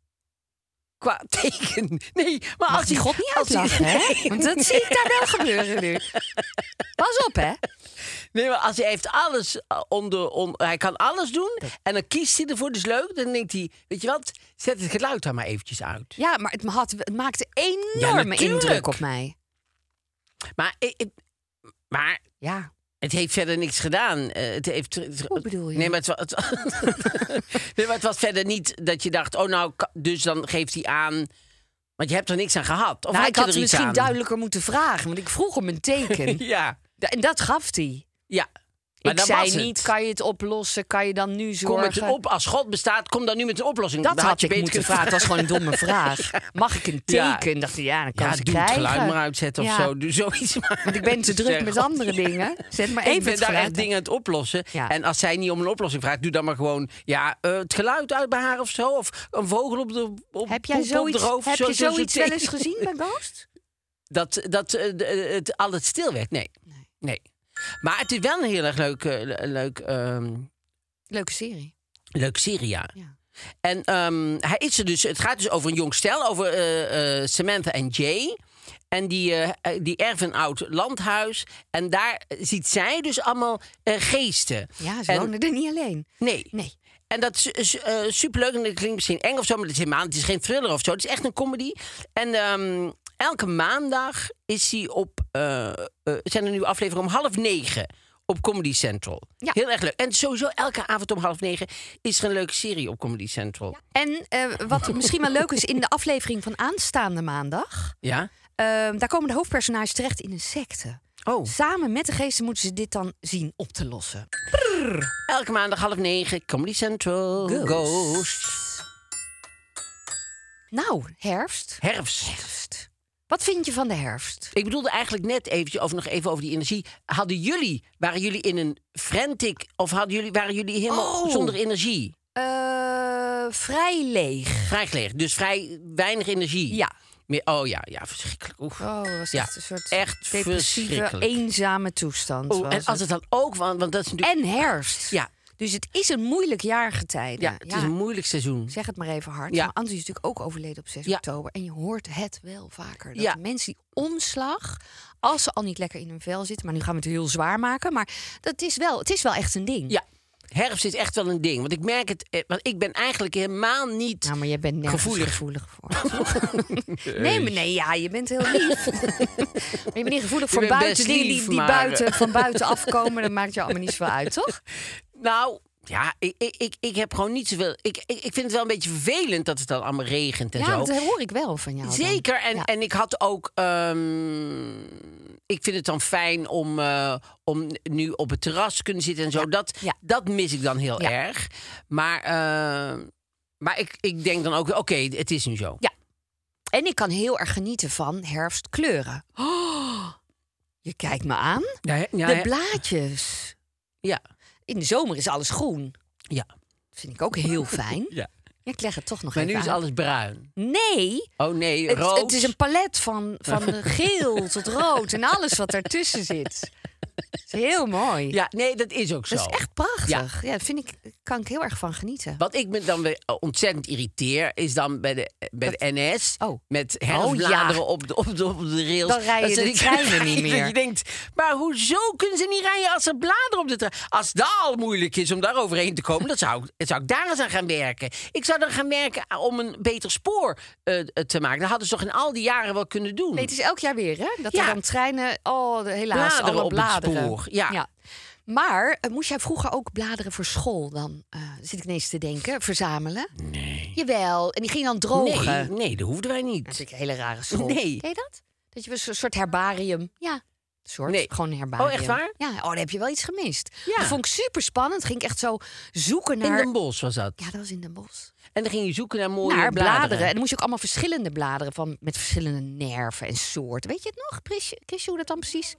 S3: Qua teken. Nee, maar
S2: mag
S3: als
S2: die God niet
S3: als hij-
S2: uitlachen, hè?
S3: Nee,
S2: Want dat zie ik daar wel gebeuren nu. Pas op, hè?
S3: Nee, maar als hij heeft alles eh, onder... On, hij kan alles doen en dan kiest hij ervoor, dus leuk. Dan denkt hij, weet je wat, zet het geluid daar maar eventjes uit.
S2: Ja, maar het, had, het maakte
S3: Ja,
S2: enorme
S3: natuurlijk.
S2: indruk op mij.
S3: Maar ik, ik- eh, Maar
S2: Ja.
S3: het heeft verder niks gedaan. Eh, het heeft, het-
S2: Hoe bedoel je?
S3: Nee maar, het, wa- het- nee, maar het was verder niet dat je dacht... oh, nou, ka- dus dan geeft hij aan... Want je hebt er niks aan gehad. Of
S2: Nou,
S3: had
S2: ik
S3: je
S2: had
S3: er
S2: het
S3: iets
S2: misschien
S3: aan?
S2: duidelijker moeten vragen, want ik vroeg om een teken.
S3: Ja,
S2: Da- En dat gaf hij.
S3: ja. Maar
S2: Ik
S3: dat
S2: zei
S3: was het.
S2: niet, kan je het oplossen? Kan je dan nu
S3: Kom
S2: zorgen?
S3: met een op, als God bestaat, kom dan nu met een oplossing.
S2: Dat
S3: Dan
S2: had
S3: je
S2: ik
S3: beter
S2: moeten
S3: kunnen
S2: vragen. Het was gewoon een domme vraag. Mag ik een
S3: Ja.
S2: teken? Dacht ik, ja, dan kan
S3: Ja,
S2: ik ze
S3: doe het
S2: krijgen.
S3: geluid maar uitzetten of
S2: Ja.
S3: zo. Doe zoiets maar.
S2: Want ik ben te druk met andere dingen. Zet maar
S3: ik
S2: even
S3: ben
S2: het
S3: daar
S2: geluid
S3: echt dingen aan het oplossen.
S2: Ja.
S3: En als zij niet om een oplossing vraagt, doe dan maar gewoon ja, eh, het geluid uit bij haar of zo. Of een vogel op de op,
S2: Heb jij
S3: poep op
S2: zoiets,
S3: de hoofd.
S2: heb
S3: zo,
S2: je
S3: zo, zo
S2: zoiets wel eens gezien bij Ghost?
S3: Dat, dat eh, de- eh, het altijd stil werd. Nee. nee. Maar het is wel een heel erg leuk, eh, le- leuk, ehm,
S2: Leuke serie.
S3: leuk serie, ja.
S2: Ja.
S3: En ehm, hij is er dus, het gaat dus over een jong stel, over eh, eh, Samantha en Jay. En die, eh, eh, die erven een oud landhuis. En daar ziet zij dus allemaal eh, geesten.
S2: Ja, ze
S3: En-
S2: wonen er niet alleen.
S3: Nee.
S2: Nee.
S3: En dat is, is, eh, superleuk. En dat klinkt misschien eng of zo, maar het is helemaal het is geen thriller of zo. Het is echt een comedy. En ehm, elke maandag is hij op... eh, eh, zijn er nu afleveringen om half negen op Comedy Central.
S2: Ja.
S3: Heel erg leuk. En sowieso elke avond om half negen is er een leuke serie op Comedy Central. Ja?
S2: En eh, wat misschien wel leuk is, in de aflevering van aanstaande maandag... eh, daar komen de hoofdpersonages terecht in een secte.
S3: Oh.
S2: Samen met de geesten moeten ze dit dan zien op te lossen.
S3: Elke maandag half negen, Comedy Central.
S2: Ghost.
S3: Ghost.
S2: Nou, herfst.
S3: Herfst.
S2: Herfst. Wat vind je van de herfst?
S3: Ik bedoelde eigenlijk net eventjes over nog even over die energie. Hadden jullie, waren jullie in een frantic of hadden jullie, waren jullie helemaal
S2: Oh.
S3: zonder energie?
S2: Eh, vrij leeg.
S3: Vrij gelegen, dus vrij weinig energie.
S2: Ja.
S3: Meer, oh ja, ja, verschrikkelijk. Oef.
S2: Oh, het was
S3: Ja,
S2: echt een soort
S3: echt
S2: depressieve,
S3: verschrikkelijk.
S2: eenzame toestand.
S3: Oh,
S2: was
S3: en als het dan ook, want, want dat is natuurlijk.
S2: En herfst.
S3: Ja.
S2: Dus het is een moeilijk jaargetijde.
S3: ja, het is een moeilijk seizoen.
S2: Zeg het maar even hard.
S3: Ja.
S2: Maar Anton is natuurlijk ook overleden op 6
S3: Ja.
S2: oktober. En je hoort het wel vaker. Dat
S3: Ja.
S2: mensen die omslag, als ze al niet lekker in hun vel zitten... maar nu gaan we het heel zwaar maken. Maar dat is wel, het is wel echt een ding.
S3: Ja, herfst is echt wel een ding. Want ik merk het, eh, want ik ben eigenlijk helemaal niet.
S2: Nou, maar jij bent nergens
S3: Gevoelig.
S2: gevoelig, voor. nee, maar nee, ja, je bent heel lief. maar je bent niet gevoelig voor
S3: bent best
S2: buiten dingen
S3: lief,
S2: die, die
S3: maar,
S2: buiten, van buiten afkomen. Dat maakt je allemaal niet zoveel uit, toch?
S3: Nou, ja, ik, ik, ik, ik heb gewoon niet zoveel. Ik, ik, ik vind het wel een beetje vervelend dat het dan allemaal regent en
S2: ja,
S3: zo.
S2: dat hoor ik wel van jou. dan.
S3: Zeker. En,
S2: Ja.
S3: en ik had ook. ehm, ik vind het dan fijn om, eh, om nu op het terras te kunnen zitten en zo. Dat,
S2: Ja.
S3: dat mis ik dan heel
S2: Ja.
S3: erg. Maar, eh, maar ik, ik denk dan ook, oké, het is nu zo.
S2: Ja. En ik kan heel erg genieten van herfstkleuren. Oh, je kijkt me aan.
S3: Ja, hè? ja,
S2: De
S3: hè?
S2: blaadjes.
S3: ja.
S2: In de zomer is alles groen.
S3: ja.
S2: Dat vind ik ook heel fijn.
S3: Ja.
S2: Ja, ik leg het toch nog
S3: Maar
S2: even
S3: nu is
S2: uit.
S3: alles bruin.
S2: Nee,
S3: Oh nee,
S2: Het,
S3: rood.
S2: het is een palet van, van geel tot rood en alles wat daartussen zit. Het is heel mooi.
S3: Ja, nee, dat is ook zo.
S2: dat is echt prachtig. Ja, daar vind ik, kan ik heel erg van genieten.
S3: Wat ik me dan weer ontzettend irriteer, is dan bij de, bij de NS
S2: Oh.
S3: met
S2: Oh, ja.
S3: herfstbladeren op, de, op, de, op de rails.
S2: Dan rijden
S3: ze
S2: de
S3: die-
S2: treinen niet meer.
S3: Dat je denkt, maar hoezo kunnen ze niet rijden als er bladeren op de trein... Als dat al moeilijk is om daar overheen te komen, dan zou, ik- zou ik daar eens aan gaan werken. Ik zou dan gaan werken om een beter spoor eh, te maken. Dat hadden ze toch in al die jaren wel kunnen doen.
S2: Nee, het is elk jaar weer, hè? Dat
S3: Ja.
S2: er dan treinen... Oh, de- helaas,
S3: Bladeren
S2: alle
S3: op het
S2: bladeren.
S3: spoor, ja.
S2: Maar eh, moest jij vroeger ook bladeren voor school dan? eh, zit ik ineens te denken. Verzamelen? Nee. Jawel. En die ging dan drogen.
S3: nee, nee, dat hoefden wij
S2: Dat is
S3: niet.
S2: natuurlijk een hele rare school.
S3: Nee.
S2: Ken je dat? Dat je een soort herbarium. Ja. Een Soort,
S3: Nee.
S2: Gewoon een herbarium.
S3: Oh, echt waar?
S2: Ja, oh, daar heb je wel iets gemist.
S3: Ja.
S2: Dat vond ik super spannend. Ging ik echt zo zoeken
S3: In
S2: naar.
S3: Den Bosch was dat.
S2: Ja, dat was in Den Bosch.
S3: En dan ging je zoeken naar mooie
S2: Naar bladeren.
S3: bladeren.
S2: En dan moest je ook allemaal verschillende bladeren van met verschillende nerven en soorten. Weet je het nog, Chrisje, Chrisje, hoe dat dan precies?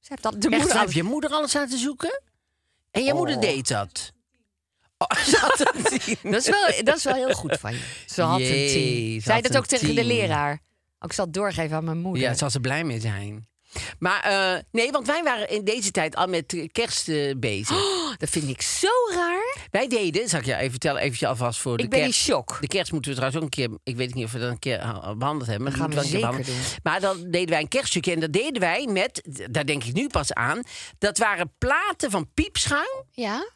S2: Ze heeft dat de
S3: Echt,
S2: moeder.
S3: heb je moeder alles laten zoeken? En je moeder deed dat? Oh, ze had een tien.
S2: Dat is, wel, dat is wel heel goed van je. Ze had een
S3: Jee,
S2: tien.
S3: ze
S2: Zei
S3: had
S2: dat
S3: een
S2: ook tegen de
S3: tien.
S2: leraar. Ook ik zal het doorgeven aan mijn moeder.
S3: Ja, zal ze blij mee zijn. Maar eh, nee, want wij waren in deze tijd al met eh, kerst eh,
S2: Oh.
S3: bezig.
S2: Dat vind ik zo raar.
S3: Wij deden, zal ik jou even vertellen, eventje alvast voor de
S2: ik ben in
S3: kerst.
S2: shock.
S3: De kerst moeten we trouwens ook een keer... Ik weet niet of we dat een keer eh, behandeld hebben. Maar
S2: Dat
S3: dat moeten
S2: gaan we
S3: wel een keer
S2: zeker
S3: behandelen. Maar dan deden wij een kerststukje. En dat deden wij met, daar denk ik nu pas aan... Dat waren platen van piepschuim.
S2: Ja?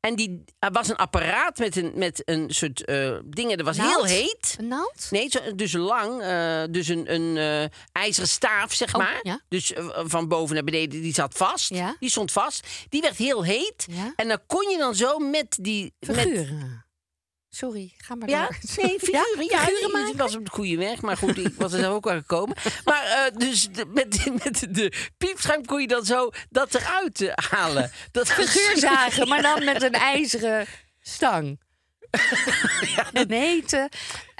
S3: En die, er was een apparaat met een, met een soort eh, dingen. Dat was heel
S2: Naald?
S3: heet.
S2: Een naald?
S3: Nee, zo- dus lang. eh, dus een, een eh, ijzeren staaf, zeg
S2: Oh,
S3: maar.
S2: ja.
S3: Dus eh, van boven naar beneden, die zat vast.
S2: Ja.
S3: Die stond vast. Die werd heel heet.
S2: Ja.
S3: En dan kon je dan zo met die... Met,
S2: Figuren. Sorry, ga maar
S3: ja,
S2: door.
S3: nee, figuren. Ja,
S2: figuren
S3: ik- ik was op de goede weg, maar goed, ik was er zelf ook wel gekomen. Maar eh, dus de- met, met de piepschuim kon je dan zo dat eruit eh, halen. Dat was-
S2: Figuurzagen, maar dan met een ijzeren stang. Een hete.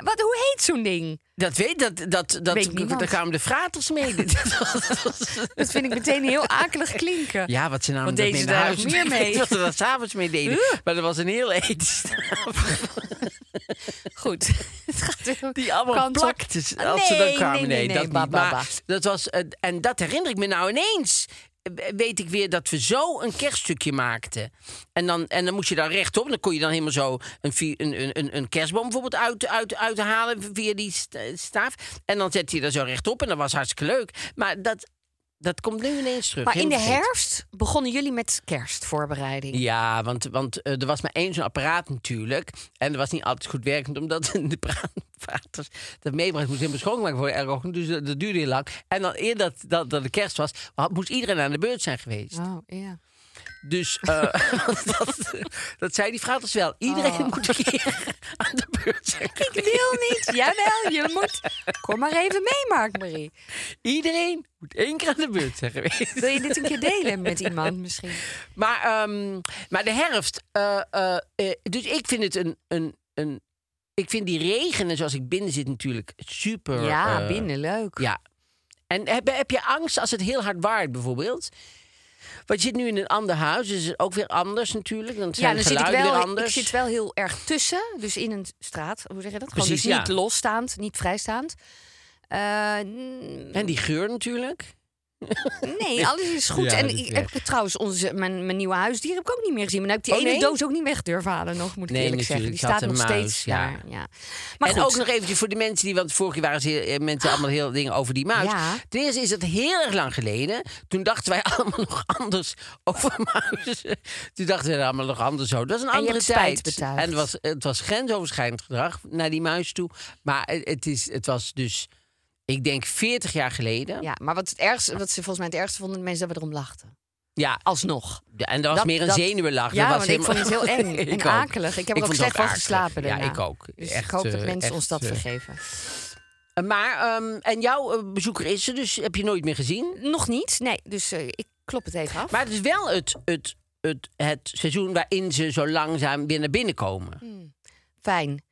S2: Wat, hoe heet zo'n ding?
S3: Dat weet dat dat dat
S2: Weet niemand.
S3: daar kwamen de fraters mee. Dat was-
S2: Dat vind ik meteen heel akelig klinken.
S3: ja, wat ze namen
S2: Wat
S3: dat
S2: deden
S3: mee
S2: ze
S3: naar
S2: daar
S3: huis.
S2: nog meer
S3: Ik
S2: mee?
S3: weet Wat ze daar s'avonds mee deden. Maar dat was een heel eten.
S2: Goed. Het gaat weer een
S3: Die allemaal
S2: kant op.
S3: plakten ze-
S2: Ah,
S3: als ze dan
S2: nee,
S3: kwamen.
S2: Nee, nee, nee,
S3: dat
S2: ba,
S3: niet.
S2: ba,
S3: Maar
S2: ba.
S3: dat was eh, en dat herinner ik me nou ineens. eh, Weet ik weer dat we zo een kerststukje maakten. En dan, en dan moest je daar rechtop. En dan kon je dan helemaal zo een, vi- een, een- een, een kerstboom bijvoorbeeld uit, uit, uithalen via die sta- staaf. En dan zette je daar zo rechtop. En dat was hartstikke leuk. Maar dat, dat komt nu ineens terug.
S2: Maar in de
S3: Helemaal vergeten.
S2: herfst begonnen jullie met kerstvoorbereiding.
S3: Ja, want, want eh, er was maar één zo'n apparaat natuurlijk. En dat was niet altijd goed werkend, omdat de praatvaters dat meebracht. moest helemaal schoongemaakt worden elke ochtend. Dus dat, dat duurde heel lang. En dan eer dat, dat, dat de kerst was, had- moest iedereen aan de beurt zijn geweest.
S2: Oh, ja.
S3: Dus eh, want dat, dat zei die fraters wel. Iedereen moet een keer aan de beurt zijn
S2: Ik
S3: geweest.
S2: wil niet. Jawel, je moet. Kom maar even mee, Mark Marie.
S3: Iedereen moet één keer aan de beurt zijn geweest.
S2: Wil je dit een keer delen met iemand misschien?
S3: Maar, ehm, maar de herfst. eh, eh, eh, dus ik vind het een, een, een. Ik vind die regenen zoals ik binnen zit natuurlijk super.
S2: Ja,
S3: eh,
S2: binnen, leuk.
S3: Ja. En heb, heb je angst als het heel hard waait bijvoorbeeld? Want je zit nu in een ander huis, dus het is ook weer anders natuurlijk. Dan zijn
S2: Ja, dan
S3: de
S2: zit ik
S3: geluiden weer
S2: wel, ik
S3: anders.
S2: zit wel heel erg tussen. Dus in een straat, hoe zeg je dat? Gewoon
S3: Precies,
S2: dus
S3: ja.
S2: niet losstaand, niet vrijstaand. Eh, n-
S3: En die geur natuurlijk.
S2: nee, alles is goed.
S3: Ja,
S2: en
S3: dat is
S2: ik heb trouwens onze, mijn, mijn nieuwe huisdier heb ik ook niet meer gezien. Maar nou heb ik die
S3: Oh,
S2: ene
S3: nee?
S2: doos ook niet weg durven halen nog, moet ik
S3: Nee,
S2: eerlijk zeggen. Die
S3: natuurlijk,
S2: staat
S3: kat en
S2: nog steeds
S3: muis, ja.
S2: daar. Ja. Maar
S3: en
S2: goed, Ah.
S3: ook nog eventjes voor de mensen die, want vorige keer waren ze heel- eh, mensen allemaal heel dingen over die muis.
S2: Ja.
S3: Ten eerste is het heel erg lang geleden. Toen dachten wij allemaal nog anders over muizen. Toen dachten we er allemaal nog anders over. Dat is een
S2: je
S3: andere
S2: hebt spijt
S3: tijd.
S2: betuigd.
S3: en het was, het was grensoverschrijdend gedrag naar die muis toe. Maar eh, het, is, het was dus, ik denk 40 jaar geleden.
S2: ja, maar wat, het ergste, wat ze volgens mij het ergste vonden, de mensen dat we erom lachten.
S3: Ja,
S2: Alsnog.
S3: Ja, en dat was
S2: Dat-
S3: meer een
S2: dat-
S3: zenuwelach.
S2: Ja,
S3: dat was
S2: want ik vond het heel eng
S3: Ik
S2: en
S3: ook.
S2: akelig. Ik heb er
S3: vond
S2: ook
S3: het
S2: slecht van
S3: akelig.
S2: geslapen daarna.
S3: Ja, ik ook.
S2: Dus ik
S3: Echt,
S2: hoop dat
S3: eh,
S2: mensen
S3: echt,
S2: ons dat
S3: eh,
S2: vergeven.
S3: Maar, ehm, en jouw eh, bezoeker is er dus, heb je nooit meer gezien?
S2: Nog niet, nee. Dus eh, ik klop het even af.
S3: Maar het is wel het, het, het, het seizoen waarin ze zo langzaam weer naar binnen komen.
S2: Fijn.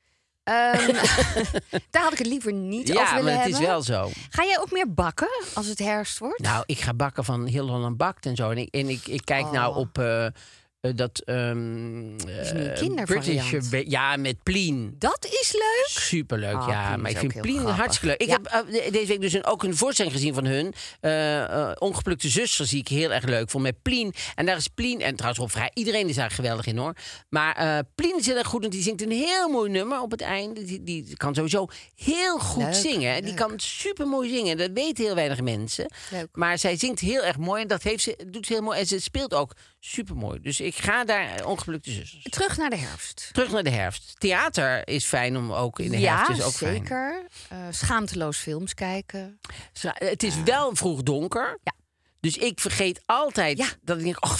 S2: Ehm, daar had ik het liever niet
S3: ja,
S2: over
S3: maar
S2: willen
S3: het is
S2: hebben.
S3: wel zo.
S2: Ga jij ook meer bakken als het herfst wordt?
S3: Nou, ik ga bakken van heel Holland Bakt en zo. En ik, en ik, ik kijk nou op eh, eh, dat... ehm
S2: Oh. is nu een
S3: eh,
S2: kindervariant.
S3: British, eh, ja, met plien.
S2: Dat is leuk.
S3: Superleuk,
S2: Ah,
S3: ja.
S2: Plien
S3: Maar
S2: is
S3: ik vind
S2: ook heel
S3: Plien
S2: grappig.
S3: hartstikke leuk. Ik
S2: Ja.
S3: heb eh, de- deze week dus een, ook een voorstelling gezien van hun. eh, eh, Ongeplukte zuster zie ik heel erg leuk. Vond met Plien. En daar is Plien, en trouwens Rob Vrij, iedereen is daar geweldig in hoor. Maar eh, Plien is heel erg goed, want die zingt een heel mooi nummer op het einde. Die, die kan sowieso heel goed
S2: Leuk,
S3: zingen. Die
S2: leuk.
S3: kan super mooi zingen. Dat weten heel weinig mensen.
S2: Leuk.
S3: Maar zij zingt heel erg mooi en dat heeft ze, doet ze heel mooi. En ze speelt ook super mooi. Dus ik ga daar eh, Ongeplukte zusters.
S2: Terug naar de herfst.
S3: Terug naar de herfst. Theater is fijn om ook in de
S2: ja,
S3: herfst is ook fijn.
S2: zeker. Eh, schaamteloos films kijken.
S3: Scha- Het is wel vroeg donker.
S2: Ja.
S3: Dus ik vergeet altijd
S2: Ja.
S3: dat ik denk, oh,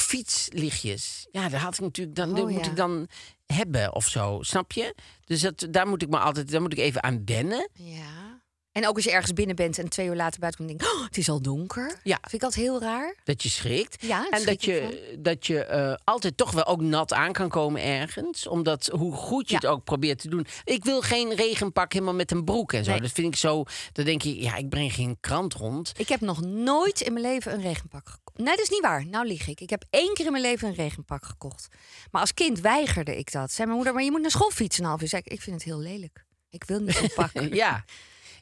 S3: fietslichtjes. Ja, dat had ik natuurlijk, dan, dat
S2: Oh,
S3: moet
S2: ja.
S3: ik dan hebben of zo, snap je? Dus dat, daar moet ik me altijd, daar moet ik even aan wennen.
S2: Ja. En ook als je ergens binnen bent en twee uur later buiten komt, denk ik, oh, het is al donker.
S3: Ja.
S2: Vind ik dat heel raar.
S3: Dat je schrikt.
S2: Ja, daar
S3: en
S2: schrik
S3: dat
S2: ik
S3: je, dat je eh, altijd toch wel ook nat aan kan komen ergens. Omdat hoe goed je
S2: Ja.
S3: het ook probeert te doen. Ik wil geen regenpak helemaal met een broek en zo.
S2: Nee.
S3: Dat vind ik zo. Dan denk je, ja, ik breng geen krant rond.
S2: Ik heb nog nooit in mijn leven een regenpak gekocht. Nee, dat is niet waar. Nou lieg ik. Ik heb één keer in mijn leven een regenpak gekocht. Maar als kind weigerde ik dat. Zei mijn moeder, maar je moet naar school fietsen een half uur. Zei ik, ik vind het heel lelijk. Ik wil niet zo'n pak.
S3: Ja.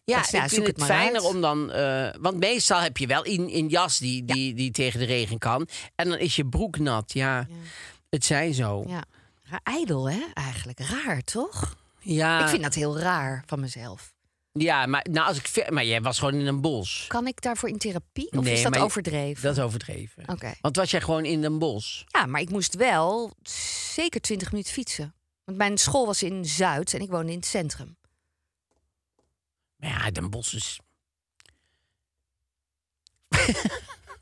S3: Ja,
S2: Dus ja,
S3: ik
S2: zoek
S3: vind
S2: het
S3: het,
S2: maar
S3: fijner
S2: uit.
S3: om dan... eh, want meestal heb je wel een, een jas die, die, die tegen de regen kan. En dan is je broek nat. Ja, het zij zo. Ja.
S2: Ja. Ra- Ijdel, hè? Eigenlijk raar, toch? Ik vind dat heel raar van mezelf.
S3: Ja, maar, nou, als ik ver- maar jij was gewoon in een bos.
S2: Kan ik daarvoor in therapie? Of
S3: Nee,
S2: is dat
S3: maar je-
S2: overdreven?
S3: Dat is overdreven.
S2: Oké.
S3: Want was jij gewoon in een bos?
S2: Ja, maar ik moest wel zeker 20 minuten fietsen. Want mijn school was in Zuid en ik woonde in het centrum.
S3: Maar ja, Den Bos is...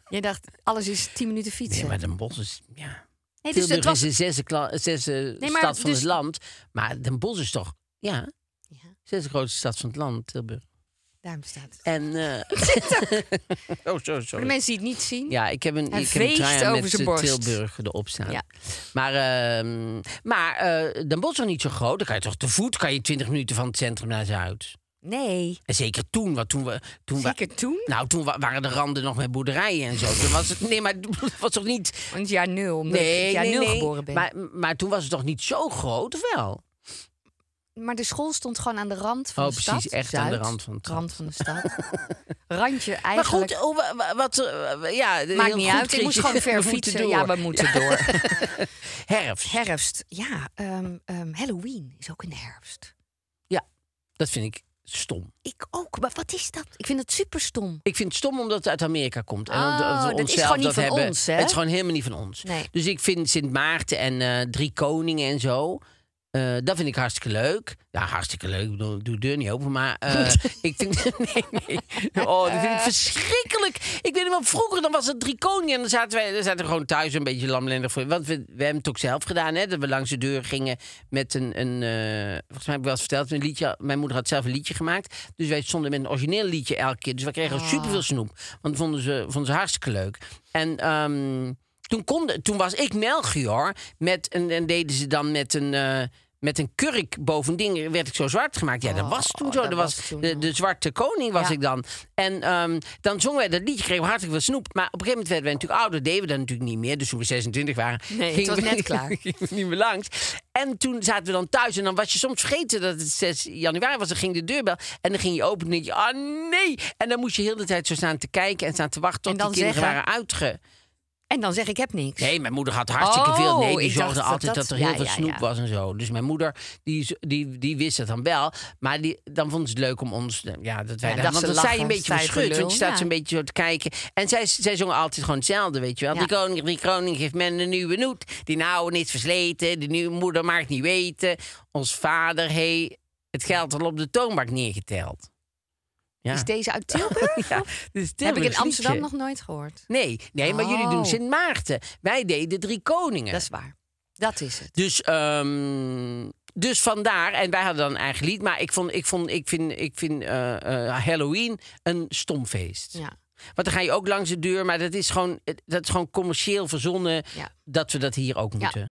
S2: Je dacht, alles is 10 minuten
S3: Nee,
S2: fietsen.
S3: maar Den Bos is... Ja.
S2: nee, dus
S3: Tilburg is de zesde, kla- zesde
S2: Nee, maar
S3: stad van
S2: dus-
S3: het land. Maar Den Bos is toch... Ja,
S2: Ja,
S3: zesde grootste stad van het land, Tilburg.
S2: daarom staat het.
S3: En... eh, oh, zo,
S2: Voor
S3: sorry.
S2: de mensen die het niet zien.
S3: Ja, ik heb een,
S2: Hij
S3: ik heb een
S2: veegt
S3: trui aan
S2: over
S3: met
S2: zijn
S3: eh,
S2: borst.
S3: Tilburg erop staan.
S2: Ja.
S3: Maar, ehm, maar eh Den Bosch is nog niet zo groot. Dan kan je toch te voet kan je 20 minuten van het centrum naar Zuid.
S2: Nee,
S3: En zeker toen, want toen we... Toen we-
S2: zeker toen.
S3: nou, toen wa- waren de randen nog met boerderijen en zo. Toen was het, nee, maar het was toch niet...
S2: Want jaar nul, omdat ik in
S3: Nee,
S2: het jaar
S3: nee,
S2: nul
S3: nee.
S2: geboren ben. Maar,
S3: Maar, maar toen was het toch niet zo groot, of wel?
S2: de school stond gewoon aan de rand van
S3: Oh,
S2: de stad.
S3: precies, echt aan de
S2: Zuid,
S3: rand van de stad.
S2: rand van de stad. Randje
S3: Maar
S2: eigenlijk.
S3: goed, oh, wa- wa- wat... eh, ja,
S2: Maakt
S3: heel
S2: niet
S3: goed
S2: uit, ik
S3: kreeg
S2: moest
S3: je
S2: gewoon ver
S3: de voeten
S2: fietsen.
S3: door.
S2: Ja, we moeten door.
S3: Herfst,
S2: herfst, ja. ehm, ehm, Halloween is ook in de herfst.
S3: dat vind ik stom.
S2: Ik ook, maar wat is dat? Ik vind het super stom.
S3: Ik vind het stom omdat het uit Amerika komt. En
S2: Oh,
S3: omdat we
S2: dat is
S3: onszelf
S2: gewoon niet
S3: dat
S2: van
S3: hebben.
S2: ons, hè?
S3: Het is gewoon helemaal niet van ons.
S2: Nee.
S3: Dus ik vind Sint Maarten en eh, Drie Koningen en zo. eh, dat vind ik hartstikke leuk. Ja, hartstikke leuk. Ik bedoel, doe de deur niet open. Maar eh, ik vind. Nee, nee. Oh, dat vind ik verschrikkelijk. Ik weet niet wel, vroeger dan was het Drie Koningen. En dan zaten, wij, dan zaten we gewoon thuis een beetje lamlendig voor. Want we, we hebben het ook zelf gedaan, hè? Dat we langs de deur gingen met een. een eh, volgens mij heb ik wel eens verteld. Een liedje, mijn moeder had zelf een liedje gemaakt. Dus wij stonden met een origineel liedje elke keer. Dus we kregen superveel snoep. Want dat vonden ze, vonden ze hartstikke leuk. En. ehm, toen, konden, toen was ik Melchior. Met een, en deden ze dan met een, eh, met een kurk bovendien. werd ik zo zwart gemaakt. Ja, dat was toen zo.
S2: Oh, dat
S3: Dat
S2: was
S3: was
S2: toen
S3: de, de zwarte koning was
S2: Ja.
S3: ik dan. En ehm, dan zongen wij dat liedje. Kregen we hartelijk veel snoep. Maar op een gegeven moment werden wij natuurlijk ouder. Deden we dat natuurlijk niet meer. Dus toen we 26 waren.
S2: Nee, het was
S3: we-
S2: net klaar.
S3: gingen we niet meer langs. En toen zaten we dan thuis. En dan was je soms vergeten dat het 6 januari was. Dan ging de deurbel. En dan ging je open. En dan denk je, ah nee. En dan moest je heel de tijd zo staan te kijken. En staan te wachten
S2: En
S3: tot die
S2: dan
S3: kinderen
S2: zeggen-
S3: waren uitge...
S2: En dan zeg ik heb niks.
S3: Nee, mijn moeder had hartstikke
S2: Oh,
S3: veel. Nee, die
S2: ik
S3: zorgde
S2: dacht dat
S3: altijd dat,
S2: dat-
S3: er heel
S2: ja,
S3: veel
S2: ja,
S3: snoep
S2: ja.
S3: was en zo. Dus mijn moeder, die, die, die wist het dan wel. Maar die, dan vond ze het leuk om ons... Ja, dat wij
S2: Ja,
S3: daar-
S2: dat
S3: want
S2: ze
S3: dan
S2: lachen,
S3: zij een beetje
S2: stijve
S3: verschut.
S2: lul,
S3: Want je staat
S2: ja.
S3: zo'n beetje zo te kijken. En zij, zij zongen altijd gewoon hetzelfde, weet je wel.
S2: Ja.
S3: Die, koning, die koning geeft men een nieuwe noet. Die nou is versleten. Die nieuwe moeder maakt niet weten. Ons vader heeft het geld al op de toonbank neergeteld. Ja.
S2: Is deze uit Tilburg?
S3: Ja,
S2: Of-
S3: dit is
S2: heb ik in
S3: Tilburgs
S2: Amsterdam
S3: liedje.
S2: nog nooit gehoord.
S3: Nee, nee maar jullie
S2: Oh.
S3: doen Sint Maarten. Wij deden Drie Koningen.
S2: Dat is waar. Dat is het.
S3: Dus, ehm, dus vandaar, en wij hadden dan een eigen lied. Maar ik, vond, ik, vond, ik vind, ik vind eh, eh, Halloween een stom feest.
S2: Ja.
S3: Want dan ga je ook langs de deur, maar dat is gewoon, dat is gewoon commercieel verzonnen
S2: Ja.
S3: dat we dat hier ook moeten.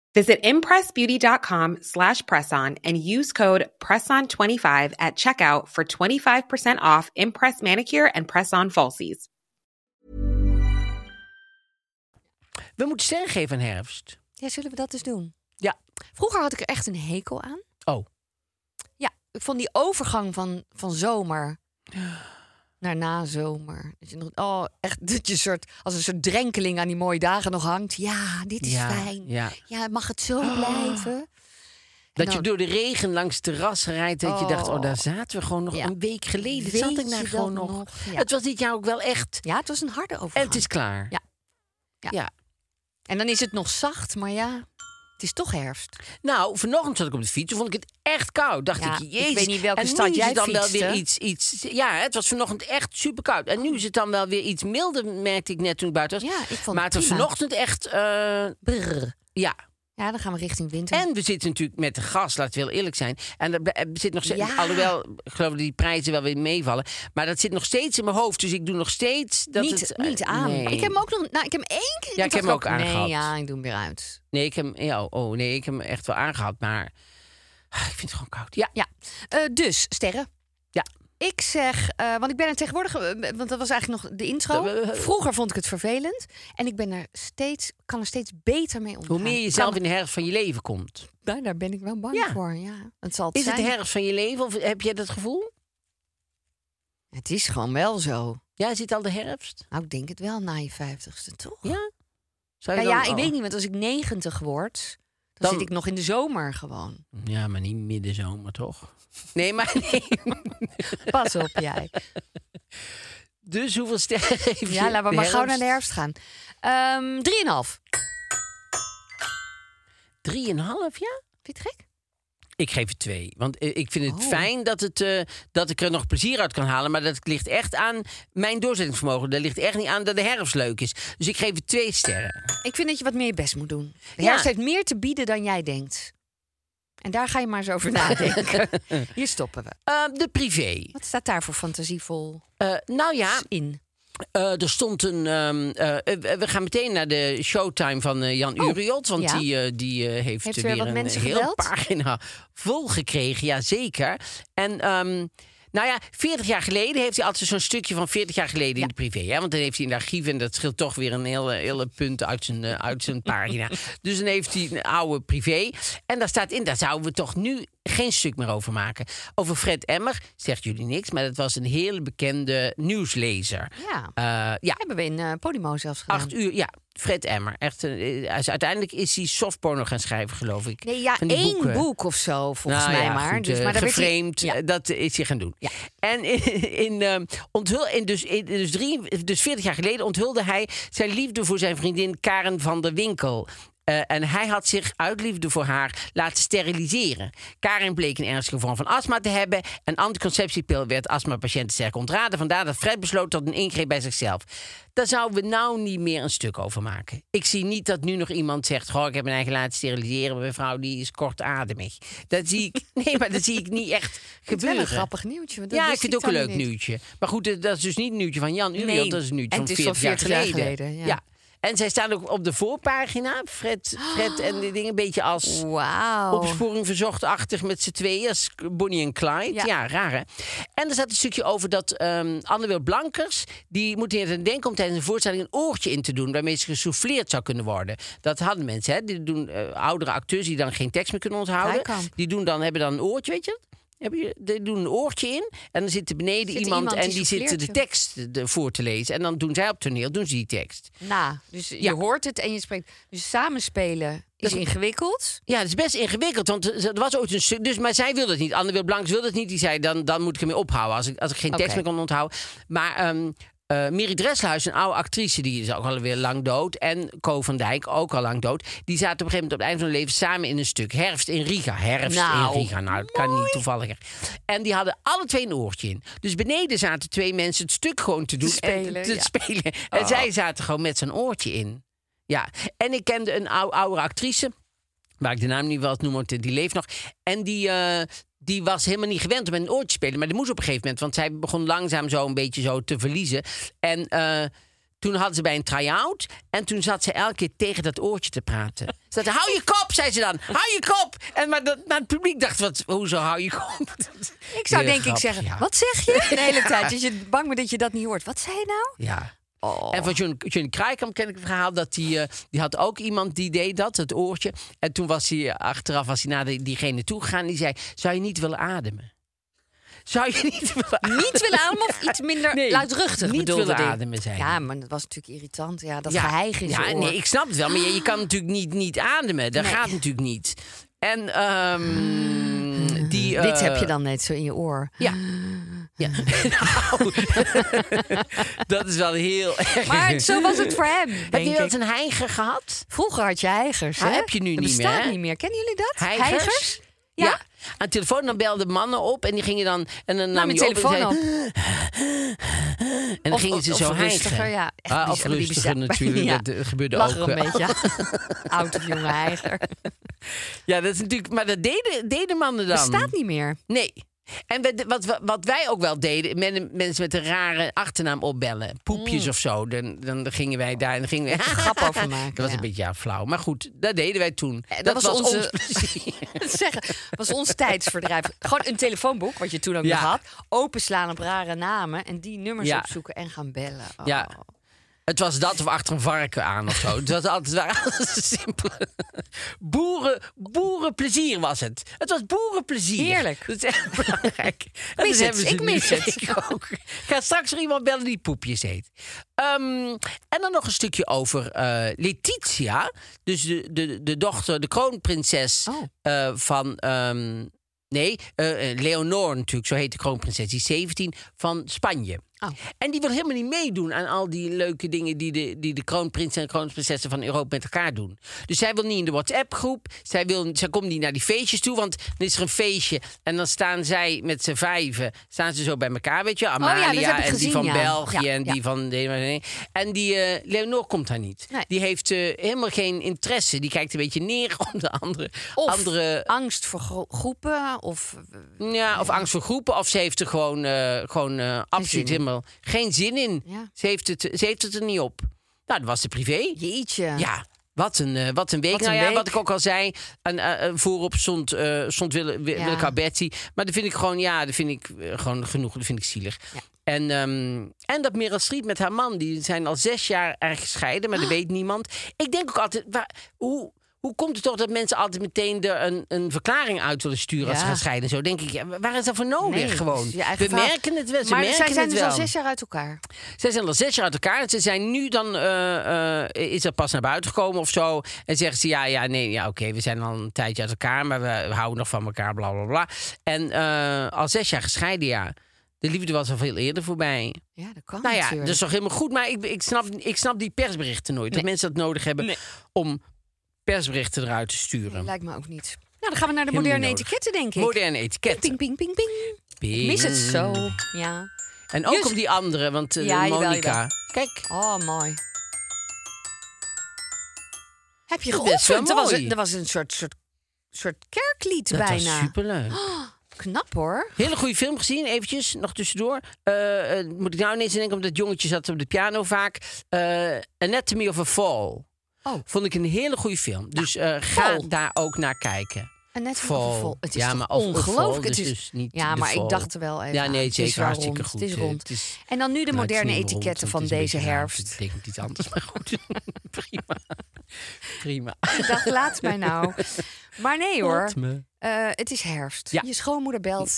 S4: Visit impressbeauty.com slash presson and use code presson25 at checkout for 25% off Impress manicure and press on falsies.
S3: We moeten sterren geven aan herfst.
S2: ja, zullen we dat dus doen?
S3: Ja.
S2: Vroeger had ik er echt een hekel aan.
S3: Oh,
S2: Ja, ik vond die overgang van, van zomer naar nazomer. Dat je nog, oh, echt dat je soort, als een soort drenkeling aan die mooie dagen nog hangt. Ja, dit is
S3: Ja,
S2: fijn.
S3: ja. Oh.
S2: mag het zo blijven?
S3: dat
S2: dan-
S3: je door de regen langs het terras rijdt. Dat je dacht, oh, daar zaten we gewoon nog
S2: Ja.
S3: een week geleden.
S2: Weet
S3: zat ik
S2: je
S3: daar
S2: dat
S3: gewoon nog.
S2: nog? Ja.
S3: Het was dit jaar ook wel echt.
S2: Ja, het was een harde
S3: En
S2: overgang.
S3: het is klaar.
S2: Ja. Ja. En dan is het nog zacht, maar ja, het is toch herfst.
S3: Nou, vanochtend zat ik op de fiets. Toen vond ik het echt koud. Dacht
S2: Ja,
S3: ik, jezus.
S2: ik weet niet welke
S3: en nu
S2: stad
S3: is
S2: jij
S3: het dan
S2: fietste.
S3: wel weer iets, iets... Ja, hè, het was vanochtend echt super koud. En nu is het dan wel weer iets milder, merkte ik net toen ik buiten was.
S2: Ja, ik vond het
S3: maar het was
S2: prima.
S3: vanochtend echt... eh,
S2: Brrr.
S3: ja.
S2: Ja, dan gaan we richting winter.
S3: En we zitten natuurlijk met de gas, laten we heel eerlijk zijn. En er ble- er zit nog steeds...
S2: Ja.
S3: Alhoewel, ik geloof dat die prijzen wel weer meevallen. Maar dat zit nog steeds in mijn hoofd. Dus ik doe nog steeds... Dat
S2: niet,
S3: het, eh,
S2: niet aan.
S3: nee.
S2: Ik heb hem ook nog. Nou, ik heb hem één keer.
S3: Ja, ik heb
S2: dacht
S3: hem ook aangehad.
S2: Nee, ja, ik doe hem weer uit.
S3: Nee, ik heb hem... Ja, oh, nee, ik heb hem echt wel aangehad. Maar ah, ik vind het gewoon koud. Ja,
S2: Ja. Eh, dus sterren.
S3: ja.
S2: Ik zeg, eh, want ik ben er tegenwoordig, eh, want dat was eigenlijk nog de intro. Vroeger vond ik het vervelend. En ik ben er steeds, kan er steeds beter mee omgaan.
S3: Hoe meer je zelf in de herfst van je leven komt.
S2: Nou, Daar, daar ben ik wel bang
S3: Ja.
S2: voor. Ja. Het zal het
S3: Is het de
S2: zijn.
S3: herfst van je leven of heb je dat gevoel?
S2: Het is gewoon wel zo.
S3: Ja, zit al de herfst?
S2: Nou, ik denk het wel na je vijftigste, toch?
S3: Ja. Zou
S2: Nou
S3: je
S2: ja,
S3: dan-
S2: ik
S3: oh.
S2: weet niet, want als ik negentig word, dan,
S3: Dan-
S2: zit ik nog in de zomer gewoon.
S3: Ja, maar niet midden zomer, toch? Nee, maar nee.
S2: Pas op jij.
S3: Dus hoeveel sterren geef je?
S2: Ja, laten we
S3: de
S2: maar gauw naar de herfst gaan. Ehm, Drieënhalf.
S3: Drieënhalf, ja?
S2: Vind je het gek?
S3: Ik geef het twee. Want eh, ik vind het
S2: Oh.
S3: fijn dat, het, eh, dat ik er nog plezier uit kan halen. Maar dat ligt echt aan mijn doorzettingsvermogen. Dat ligt echt niet aan dat de herfst leuk is. Dus ik geef het twee sterren.
S2: Ik vind dat je wat meer je best moet doen. De
S3: Ja.
S2: herfst heeft meer te bieden dan jij denkt. En daar ga je maar eens over nadenken. Hier stoppen we.
S3: Eh, de privé.
S2: Wat staat daar voor fantasievol
S3: Eh, nou ja,
S2: in?
S3: Eh, er stond een. ehm, eh, eh, we gaan meteen naar de showtime van eh, Jan Uriot. Want
S2: Oh, ja.
S3: die, eh, die eh, heeft,
S2: Heeft
S3: eh,
S2: weer
S3: weer,
S2: wat
S3: een
S2: mensen
S3: heel
S2: gebeld?
S3: pagina vol gekregen. Ja, zeker. En. ehm, nou ja, 40 jaar geleden heeft hij altijd zo'n stukje van 40 jaar geleden in de privé. Hè? Want dan heeft hij in de archief en dat scheelt toch weer een hele, hele punt uit zijn, eh, uit zijn pagina. Dus dan heeft hij een oude privé. En daar staat in, daar zouden we toch nu geen stuk meer over maken. Over Fred Emmer, zegt jullie niks, maar dat was een hele bekende nieuwslezer.
S2: Ja.
S3: Eh, ja,
S2: Hebben we in eh, Podimo zelfs gedaan.
S3: acht uur. Ja, Fred Emmer. Echt, een- eh, hij is- uiteindelijk is hij softporno gaan schrijven, geloof ik.
S2: Nee, ja,
S3: Van die
S2: één
S3: boeken.
S2: boek of zo, volgens
S3: Nou
S2: mij
S3: ja,
S2: maar.
S3: goed,
S2: dus,
S3: eh,
S2: maar daar werd hij-
S3: geframed,
S2: Ja.
S3: eh, dat is hij gaan doen. En in, in, ehm, onthul, in, dus, in dus, drie, dus 40 jaar geleden onthulde hij zijn liefde voor zijn vriendin Karen van der Winkel. Eh, en hij had zich uit liefde voor haar laten steriliseren. Karen bleek een ernstige vorm van astma te hebben. Een anticonceptiepil werd astmapatiënten sterk ontraden. Vandaar dat Fred besloot tot een ingreep bij zichzelf. Daar zouden we nou niet meer een stuk over maken. Ik zie niet dat nu nog iemand zegt... Goh, ik heb mijn eigen laten steriliseren, maar mijn vrouw die is kortademig. Dat zie ik, nee, maar dat zie ik niet echt
S2: Ik vind het
S3: gebeuren.
S2: wel een grappig nieuwtje. want dat
S3: Ja, ik
S2: wist
S3: vind het ook een
S2: dan
S3: leuk
S2: niet.
S3: nieuwtje. Maar goed, eh, dat is dus niet een nieuwtje van Jan Uriot.
S2: Nee.
S3: Dat is een nieuwtje van
S2: En het is
S3: 40,
S2: van 40
S3: jaar
S2: jaar
S3: geleden.
S2: geleden, ja.
S3: En zij staan ook op de voorpagina. Fred, Fred en die dingen een beetje
S2: Oh.
S3: als
S2: Wauw.
S3: opsporing verzocht-achtig met z'n tweeën. Als Bonnie en Clyde. Ja.
S2: Ja.
S3: raar hè? En er zat een stukje over dat ehm Anne-Wil Blankers... die moet hier aan denken om tijdens een voorstelling een oortje in te doen... waarmee ze gesouffleerd zou kunnen worden. Dat hadden mensen, hè? Die doen eh, oudere acteurs die dan geen tekst meer kunnen onthouden.
S2: Krijkamp.
S3: Die doen dan, hebben dan een oortje, weet je dat? Hebben je- Die doen een oortje in en dan zit er beneden
S2: Zit er
S3: iemand,
S2: iemand
S3: en
S2: die
S3: die zit de
S2: souffleert,
S3: tekst eh, voor te lezen. En dan doen zij op toneel doen ze die tekst.
S2: Na. Dus je
S3: Ja.
S2: hoort het en je spreekt. Dus samenspelen is ingewikkeld.
S3: Ja, dat is best ingewikkeld, want er was ooit een stuk... Dus, maar zij wilde het niet. Anne Wil Blanks wilde het niet. Die zei, dan, dan moet ik ermee ophouden als ik, als ik geen tekst
S2: Oké.
S3: meer kon onthouden. Maar ehm eh Miri Dresselhuis, een oude actrice, die is ook alweer lang dood. En Co van Dijk, ook al lang dood. Die zaten op een gegeven moment op het einde van hun leven samen in een stuk. Herfst in Riga. Herfst
S2: Nou,
S3: in Riga. Nou, dat kan niet toevalliger. En die hadden alle twee een oortje in. Dus beneden zaten twee mensen het stuk gewoon te doen.
S2: Te
S3: en,
S2: spelen,
S3: te
S2: ja. Oh.
S3: spelen. en zij zaten gewoon met zo'n oortje in. Ja, en ik kende een ou- oude actrice waar ik de naam niet wel noem, want die leeft nog. En die, eh, die was helemaal niet gewend om met een oortje te spelen. Maar die moest op een gegeven moment, want zij begon langzaam zo een beetje zo te verliezen. En eh, toen hadden ze bij een try-out. En toen zat ze elke keer tegen dat oortje te praten. Ze zei, hou je kop, zei ze dan. Hou je kop. En maar, dat, maar het publiek dacht, wat, hoezo hou je kop?
S2: Ik zou
S3: Heel
S2: denk ik
S3: grappig,
S2: zeggen,
S3: ja.
S2: wat zeg je? De hele tijd. Dat je bang bent dat je dat niet hoort. Wat zei je nou?
S3: Ja. En van John, John Krijkamp ken ik het verhaal dat die, eh, die had ook iemand die deed dat, het oortje. En toen was hij eh, achteraf was hij naar die- diegene toe gegaan. Die zei: Zou je niet willen ademen? Zou je niet willen ademen?
S2: Niet willen ademen of iets minder
S3: Nee,
S2: luidruchtig
S3: niet
S2: bedoelde
S3: willen
S2: die.
S3: ademen, zei
S2: Ja,
S3: hij.
S2: maar dat was natuurlijk irritant. Ja, dat
S3: Ja,
S2: geheig is
S3: ja, nee, ik snap het wel, maar je, je kan natuurlijk niet, niet ademen. Dat
S2: Nee.
S3: gaat natuurlijk niet. En ehm, die.
S2: Dit
S3: eh,
S2: heb je dan net zo in je oor.
S3: Ja. ja. Nou, dat is wel heel erg.
S2: Maar zo was het voor
S3: heb
S2: hem,
S3: je
S2: denk
S3: wel
S2: ik.
S3: eens een heiger gehad?
S2: Vroeger had je heigers,
S3: Ah,
S2: hè?
S3: heb je nu
S2: dat
S3: niet
S2: bestaat
S3: meer, hè?
S2: niet meer. Kennen jullie dat?
S3: Heigers?
S2: Ja.
S3: Aan de telefoon dan belden mannen op en die gingen dan en dan
S2: Nou,
S3: nam
S2: mijn
S3: je op en
S2: telefoon op.
S3: zei- en dan
S2: Of-
S3: gingen
S2: of-
S3: ze
S2: of
S3: zo
S2: rustiger,
S3: hijgen.
S2: ja. Echt
S3: Ah, of
S2: bizar- die
S3: rustiger
S2: bizar-
S3: natuurlijk.
S2: Ja.
S3: Dat eh, gebeurde
S2: Lach
S3: ook.
S2: er een
S3: eh,
S2: beetje. Oud of jonge heiger.
S3: Ja, dat is natuurlijk. Maar dat deden, deden mannen dan.
S2: Bestaat niet meer.
S3: Nee. En we- wat, we- wat wij ook wel deden, men- mensen met een rare achternaam opbellen.
S2: Mm.
S3: Poepjes of zo. Dan, dan gingen wij daar en dan gingen we...
S2: een grap over maken,
S3: Dat was
S2: ja. Eh,
S3: een beetje ja, flauw. Maar goed, dat deden wij toen.
S2: dat was onze- Dat zeggen, was ons tijdsverdrijf. Gewoon een telefoonboek, wat je toen ook
S3: Ja.
S2: nog had. Openslaan op rare namen en die nummers
S3: Ja.
S2: opzoeken en gaan bellen. Oh.
S3: Ja. Het was dat of achter een varken aan of zo. Het was altijd, het waren altijd simpele. Boeren, boerenplezier was het. Het was boerenplezier.
S2: Heerlijk.
S3: Dat is echt belangrijk. En dat
S2: mis het.
S3: hebben ze
S2: Ik
S3: nu.
S2: mis het.
S3: Ik ook. Ik ga straks nog iemand bellen die poepjes heet. Ehm, en dan nog een stukje over eh, Letitia. Dus de, de, de dochter, de kroonprinses
S2: Oh.
S3: eh, van... ehm, nee, eh, eh, Leonor natuurlijk, zo heet de kroonprinses. Die is 17, van Spanje.
S2: Oh.
S3: En die wil helemaal niet meedoen aan al die leuke dingen... die de, die de kroonprins en kroonprinsessen van Europa met elkaar doen. Dus zij wil niet in de WhatsApp-groep. Zij, wil, zij komt niet naar die feestjes toe, want dan is er een feestje... en dan staan zij met z'n vijven, staan ze zo bij elkaar, weet je... Amalia
S2: Oh heb ik
S3: en
S2: gezien,
S3: die van
S2: ja.
S3: België
S2: Ja,
S3: en die
S2: ja.
S3: van... de- En die eh, Leonor komt daar niet.
S2: Nee.
S3: Die heeft eh, helemaal geen interesse. Die kijkt een beetje neer op de andere...
S2: Of
S3: andere
S2: angst voor gro- groepen of eh,
S3: ja, of angst voor groepen. Of ze heeft er gewoon, eh, gewoon eh, absoluut
S2: zin in.
S3: helemaal geen zin in.
S2: Ja.
S3: Ze, heeft het, ze heeft het er niet op. Nou, dat was de privé.
S2: jeetje.
S3: Ja, wat een, eh, wat een week.
S2: Wat
S3: nou
S2: een
S3: ja,
S2: week.
S3: wat ik ook al zei. En, eh, eh, voorop stond, eh stond Wille, Wi-
S2: Ja.
S3: Willeke Alberti. Maar dat vind ik gewoon, ja, dat vind ik eh, gewoon genoeg. Dat vind ik zielig. En, ehm, en dat Meryl Streep met haar man, die zijn al zes jaar erg gescheiden, maar
S2: Ah.
S3: dat weet niemand. Ik denk ook altijd, waar, hoe, hoe komt het toch dat mensen altijd meteen er een, een verklaring uit willen sturen als ze
S2: Ja.
S3: gaan scheiden? en Zo denk ik, oh ja, waar is dat voor nodig
S2: Nee,
S3: gewoon?
S2: dus je eigen
S3: We
S2: verhaal.
S3: merken het wel, ze
S2: maar
S3: merken
S2: zij zijn
S3: het
S2: dus
S3: wel.
S2: al zes jaar uit elkaar.
S3: Zij zijn al zes jaar uit elkaar. En ze zijn nu dan, eh, eh, is er pas naar buiten gekomen of zo. En zeggen ze, ja, ja, nee, ja, oké, we zijn al een tijdje uit elkaar. Maar we, houden nog van elkaar, bla, bla, bla. En eh, al zes jaar gescheiden, ja. De liefde was al veel eerder voorbij.
S2: Ja, dat kan
S3: Nou ja,
S2: Oh, natuurlijk.
S3: dat is toch helemaal goed. Maar ik, ik, snap, ik snap die persberichten nooit. Dat mensen dat nodig hebben om persberichten eruit te
S2: Nee,
S3: sturen.
S2: lijkt me ook niet. Nou, dan gaan we naar de
S3: Helemaal
S2: moderne
S3: niet nodig.
S2: etiketten, denk ik.
S3: Moderne etiket.
S2: Ping, ping, ping, ping. Ik mis het zo. Ja.
S3: En ook
S2: Just-
S3: op die andere, want eh,
S2: Ja, jawel,
S3: Monica.
S2: jawel.
S3: Kijk,
S2: Oh, mooi. Heb je
S3: Dat is best wel
S2: geoefend? Er was,
S3: mooi.
S2: een, er was een soort, soort, soort kerklied
S3: dat
S2: bijna.
S3: was superleuk.
S2: Knap hoor.
S3: Hele goede film gezien, eventjes, nog tussendoor. Eh, eh, moet ik nou ineens denken, omdat het jongetje zat op de piano vaak. Eh, Anatomy of a Fall.
S2: Oh.
S3: Vond ik een hele goede film. Dus eh, ga
S2: Fall.
S3: daar ook naar kijken.
S2: En net
S3: Fall.
S2: van vol. Het is
S3: Ja,
S2: toch
S3: maar of- of
S2: ongelooflijk.
S3: fall,
S2: het
S3: dus
S2: is
S3: dus niet
S2: ja,
S3: de
S2: maar
S3: fall.
S2: ik dacht er wel even.
S3: Ja,
S2: aan.
S3: nee,
S2: het
S3: zeker,
S2: is wel
S3: hartstikke
S2: rond,
S3: goed.
S2: Het is
S3: Eh,
S2: rond.
S3: het is-
S2: en dan nu de
S3: Nou, het is
S2: moderne
S3: niet rond,
S2: etiketten
S3: want
S2: van
S3: het is een
S2: deze
S3: beetje raar,
S2: herfst.
S3: Het betekent iets anders, maar goed. Prima. Prima.
S2: Ik dacht, laat mij nou. Maar nee hoor.
S3: Laat me.
S2: Eh, het is herfst.
S3: Ja.
S2: Je schoonmoeder belt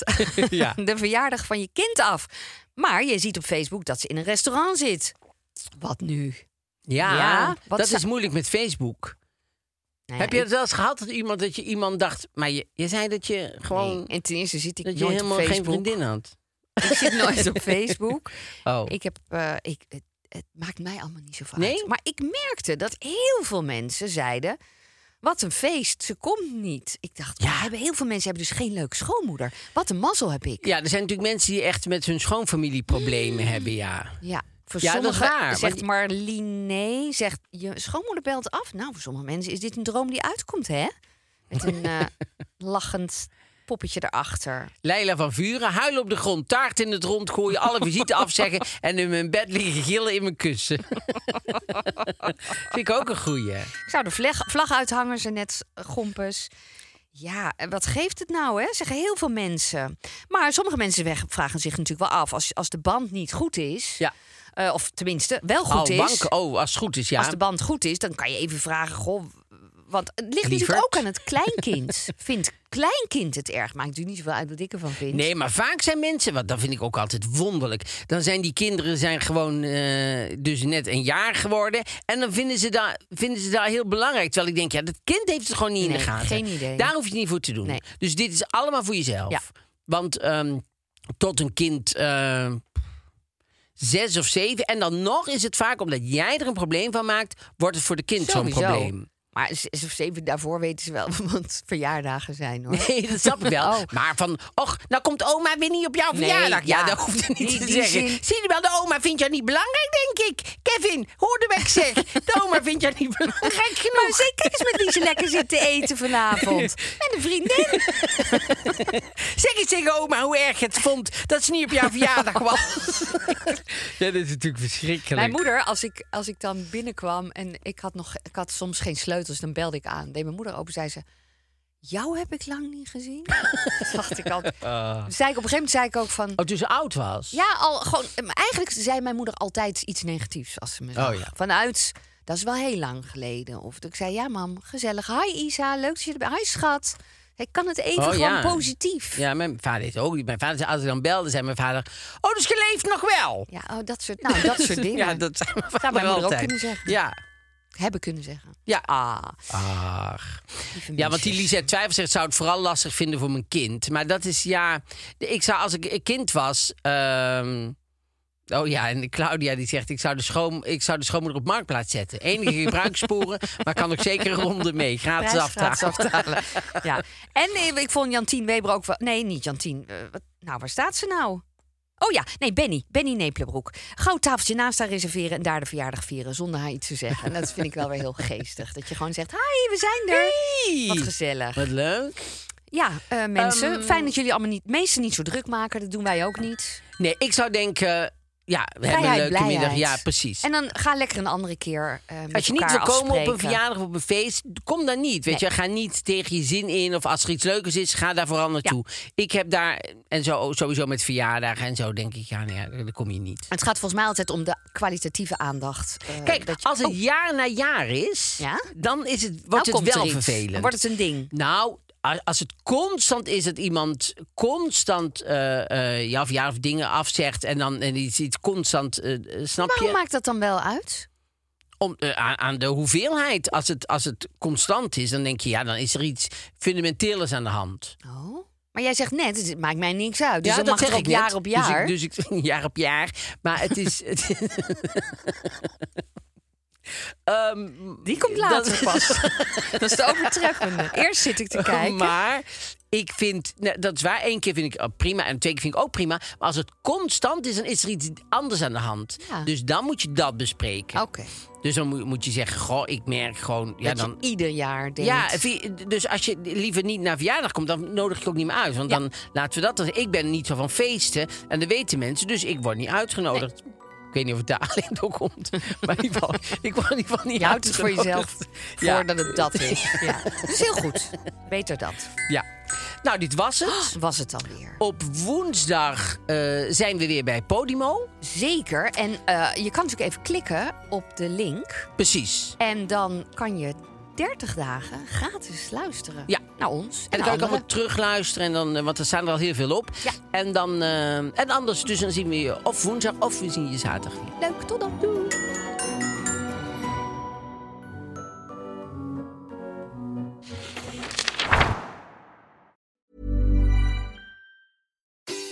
S3: Ja.
S2: de verjaardag van je kind af. Maar je ziet op Facebook dat ze in een restaurant zit. Wat nu?
S3: Ja,
S2: Ja, wat
S3: dat
S2: zou-
S3: is moeilijk met Facebook.
S2: Nou ja,
S3: Heb je
S2: ik-
S3: het wel eens gehad dat iemand, dat je iemand dacht... Maar je, je zei dat je gewoon...
S2: Nee. En ten eerste zit ik
S3: Dat je
S2: nooit
S3: helemaal
S2: op
S3: geen
S2: Facebook.
S3: vriendin had.
S2: Ik zit nooit op Facebook.
S3: Oh.
S2: Ik heb, eh, ik, het, het maakt mij allemaal niet zo vaak.
S3: Nee?
S2: Maar ik merkte dat heel veel mensen zeiden... Wat een feest, ze komt niet. Ik dacht, ja. hebben heel veel mensen hebben dus geen leuke schoonmoeder. Wat een mazzel heb ik.
S3: Ja, er zijn natuurlijk mensen die echt met hun schoonfamilie problemen hebben, ja.
S2: Ja, voor
S3: Ja, dat is
S2: sommige
S3: waar, want
S2: zegt
S3: je-
S2: Marleen nee, zegt je schoonmoeder belt af. Nou, voor sommige mensen is dit een droom die uitkomt, hè? Met een eh, lachend poppetje erachter.
S3: Leila van Vuren, huilen op de grond, taart in het rond gooien, alle visite afzeggen en in mijn bed liggen gillen in mijn kussen. Vind ik ook een goeie.
S2: Ik zou de vlag, vlag uithangen, ze net gompes. Ja, en wat geeft het nou, hè? Zeggen heel veel mensen. Maar sommige mensen weg- vragen zich natuurlijk wel af als, als de band niet goed is.
S3: Ja.
S2: eh, of tenminste, wel goed
S3: oh,
S2: is.
S3: banken. Oh, als het goed is, ja.
S2: Als de band goed is, dan kan je even vragen, goh, want het ligt
S3: Lieverd?
S2: natuurlijk ook aan het kleinkind. vindt kleinkind het erg? Maakt natuurlijk niet zoveel uit wat ik ervan vind.
S3: Nee, maar vaak zijn mensen, want dat vind ik ook altijd wonderlijk. Dan zijn die kinderen zijn gewoon eh, dus net een jaar geworden. En dan vinden ze, dat, vinden ze dat heel belangrijk. Terwijl ik denk, ja, dat kind heeft het gewoon niet in
S2: Nee,
S3: de gaten.
S2: geen idee.
S3: Daar hoef je het niet voor te doen.
S2: Nee.
S3: Dus dit is allemaal voor jezelf.
S2: Ja.
S3: Want ehm, tot een kind eh, zes of zeven. En dan nog is het vaak omdat jij er een probleem van maakt, wordt het voor de kind zo'n
S2: Sowieso.
S3: probleem.
S2: Maar zes of zeven daarvoor weten ze wel wat verjaardagen zijn hoor.
S3: Nee, dat snap ik wel.
S2: Oh.
S3: Maar van, och, nou komt oma weer niet op jouw
S2: Nee,
S3: verjaardag. Ja,
S2: ja.
S3: dat hoeft er niet
S2: Die-
S3: te
S2: die
S3: zeggen.
S2: zin-
S3: Zie je wel, de oma vindt jou niet belangrijk, denk ik. Kevin, hoor de weg zeg. De oma vindt jou niet belangrijk
S2: Maar
S3: genoeg.
S2: zeker eens met wie ze lekker zitten eten vanavond. Met een vriendin.
S3: Zeg eens tegen oma hoe erg het vond dat ze niet op jouw verjaardag was. ja, dat is natuurlijk verschrikkelijk.
S2: Mijn moeder, als ik, als ik dan binnenkwam en ik had, nog, ik had soms geen sleutels, dan belde ik aan. Deed mijn moeder open, zei ze... Jou heb ik lang niet gezien. Dat dacht ik al.
S3: Ah.
S2: Zei ik, op een gegeven moment zei ik ook van...
S3: Oh, toen ze oud was?
S2: Ja, al gewoon. eh, maar Eigenlijk zei mijn moeder altijd iets negatiefs als ze me zag.
S3: Oh, ja.
S2: Vanuit, dat is wel heel lang geleden. Of ik zei, ja, mam, gezellig. Hi, Isa, leuk dat je er bent. Hi, schat. Ik kan het even
S3: Oh,
S2: gewoon
S3: ja.
S2: positief.
S3: Ja, mijn vader is ook niet. Mijn vader, zei- als ik dan belde, zei mijn vader... Oh, dus je leeft nog wel.
S2: Ja, oh, dat soort, nou, dat soort dingen.
S3: Ja, dat zou mijn vader
S2: mijn moeder ook
S3: altijd.
S2: kunnen zeggen.
S3: Ja.
S2: Hebben kunnen zeggen.
S3: Ja.
S2: Ah,
S3: Ach.
S2: lieve
S3: Ja, want die
S2: mensen.
S3: Lisette Twijfel zegt, zou het vooral lastig vinden voor mijn kind. Maar dat is, ja... Ik zou, als ik een kind was... ehm, oh ja, en Claudia die zegt, ik zou, de schoon, ik zou de schoonmoeder op marktplaats zetten. Enige gebruikssporen, maar kan ook zeker een ronde mee. Gratis
S2: Prijs
S3: aftalen.
S2: gratis aftalen. ja. En eh, ik vond Jantien Weber ook wel... Nee, niet Jantien. Eh, wat, nou, waar staat ze nou? Oh ja, nee, Benny. Benny Nepelenbroek. Gauw tafeltje naast haar reserveren en daar de verjaardag vieren zonder haar iets te zeggen. En dat vind ik wel weer heel geestig. Dat je gewoon zegt, hi, we zijn er.
S3: Hey.
S2: Wat gezellig.
S3: Wat leuk.
S2: Ja, eh, mensen,
S3: Ehm.
S2: fijn dat jullie allemaal niet, meesten niet zo druk maken. Dat doen wij ook niet.
S3: Nee, ik zou denken... Ja, we hebben een
S2: Vrijheid,
S3: leuke middag.
S2: blijheid.
S3: Ja, precies.
S2: En dan ga lekker een andere keer eh met
S3: Als je niet wil
S2: elkaar
S3: komen op een
S2: afspreken.
S3: verjaardag of op een feest, kom dan niet. Weet je, ga niet tegen je zin in. Of als er iets leukers is, ga daar vooral naartoe. Ik heb daar, en zo, sowieso met verjaardagen en zo, denk ik, ja, nee, ja, daar kom je niet.
S2: Het gaat volgens mij altijd om de kwalitatieve aandacht. eh,
S3: Kijk,
S2: dat je-
S3: als het
S2: Oh,
S3: jaar na jaar is,
S2: Ja?
S3: dan is het,
S2: nou
S3: wordt
S2: komt
S3: het
S2: er
S3: wel
S2: iets. Dan
S3: vervelend.
S2: Wordt het een ding.
S3: Nou, a- als het constant is dat iemand constant eh eh jouw verjaardag of dingen afzegt... en dan en iets, iets constant, eh, eh, snap
S2: Maar
S3: je?
S2: hoe maakt dat dan wel uit?
S3: om, eh, aan, aan de hoeveelheid. Als het, als het constant is, dan denk je, ja, dan is er iets fundamenteels aan de hand.
S2: Oh. Maar jij zegt net, het maakt mij niks uit. Dus
S3: ja,
S2: dan mag het ook
S3: net.
S2: jaar op jaar.
S3: Dus ik, dus ik- jaar op jaar. Maar het is. het is- Ehm,
S2: die komt
S3: dat-
S2: later pas. dat is de overtreffende. Eerst zit ik te kijken.
S3: Oh, Maar ik vind, nou, dat is waar. Eén keer vind ik oh, prima en twee keer vind ik ook prima. Maar als het constant is, dan is er iets anders aan de hand.
S2: Ja.
S3: Dus dan moet je dat bespreken.
S2: Oké.
S3: Dus dan moet, moet je zeggen, goh, ik merk gewoon... Ja,
S2: dat
S3: dan,
S2: je ieder jaar denkt.
S3: Ja, vi- dus als je liever niet naar verjaardag komt, dan nodig ik ook niet meer uit. Want dan laten we dat. dan- Ik ben niet zo van feesten en dat weten mensen, dus ik word niet uitgenodigd. Ik weet niet of het daar alleen door komt. Maar in ieder geval, ik word in ieder geval niet
S2: je houdt het voor jezelf
S3: uitgenodigd.
S2: voordat het dat is. Ja. Dat is heel goed. Beter dat.
S3: Ja. Nou, dit was het.
S2: Was het alweer.
S3: Op woensdag eh, zijn we weer bij Podimo.
S2: Zeker. En eh, je kan natuurlijk even klikken op de link.
S3: Precies.
S2: En dan kan je 30 dagen gratis luisteren.
S3: Ja.
S2: Naar ons.
S3: En dan
S2: En,
S3: kan ik
S2: anderen.
S3: allemaal terugluisteren, en dan, eh, want er staan er al heel veel op.
S2: Nou, Ja.
S3: En, dan, eh, en anders, dus dan zien we je of woensdag of we zien je zaterdag weer.
S2: Leuk. Tot dan. Doei.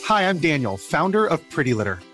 S5: Hi, I'm Daniel, founder of Pretty Litter.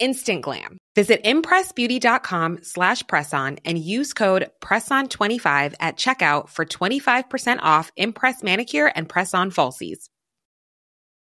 S4: Instant glam. Visit impressbeauty.com slash presson and use code presson25 at checkout for 25% off Impress manicure and press on falsies.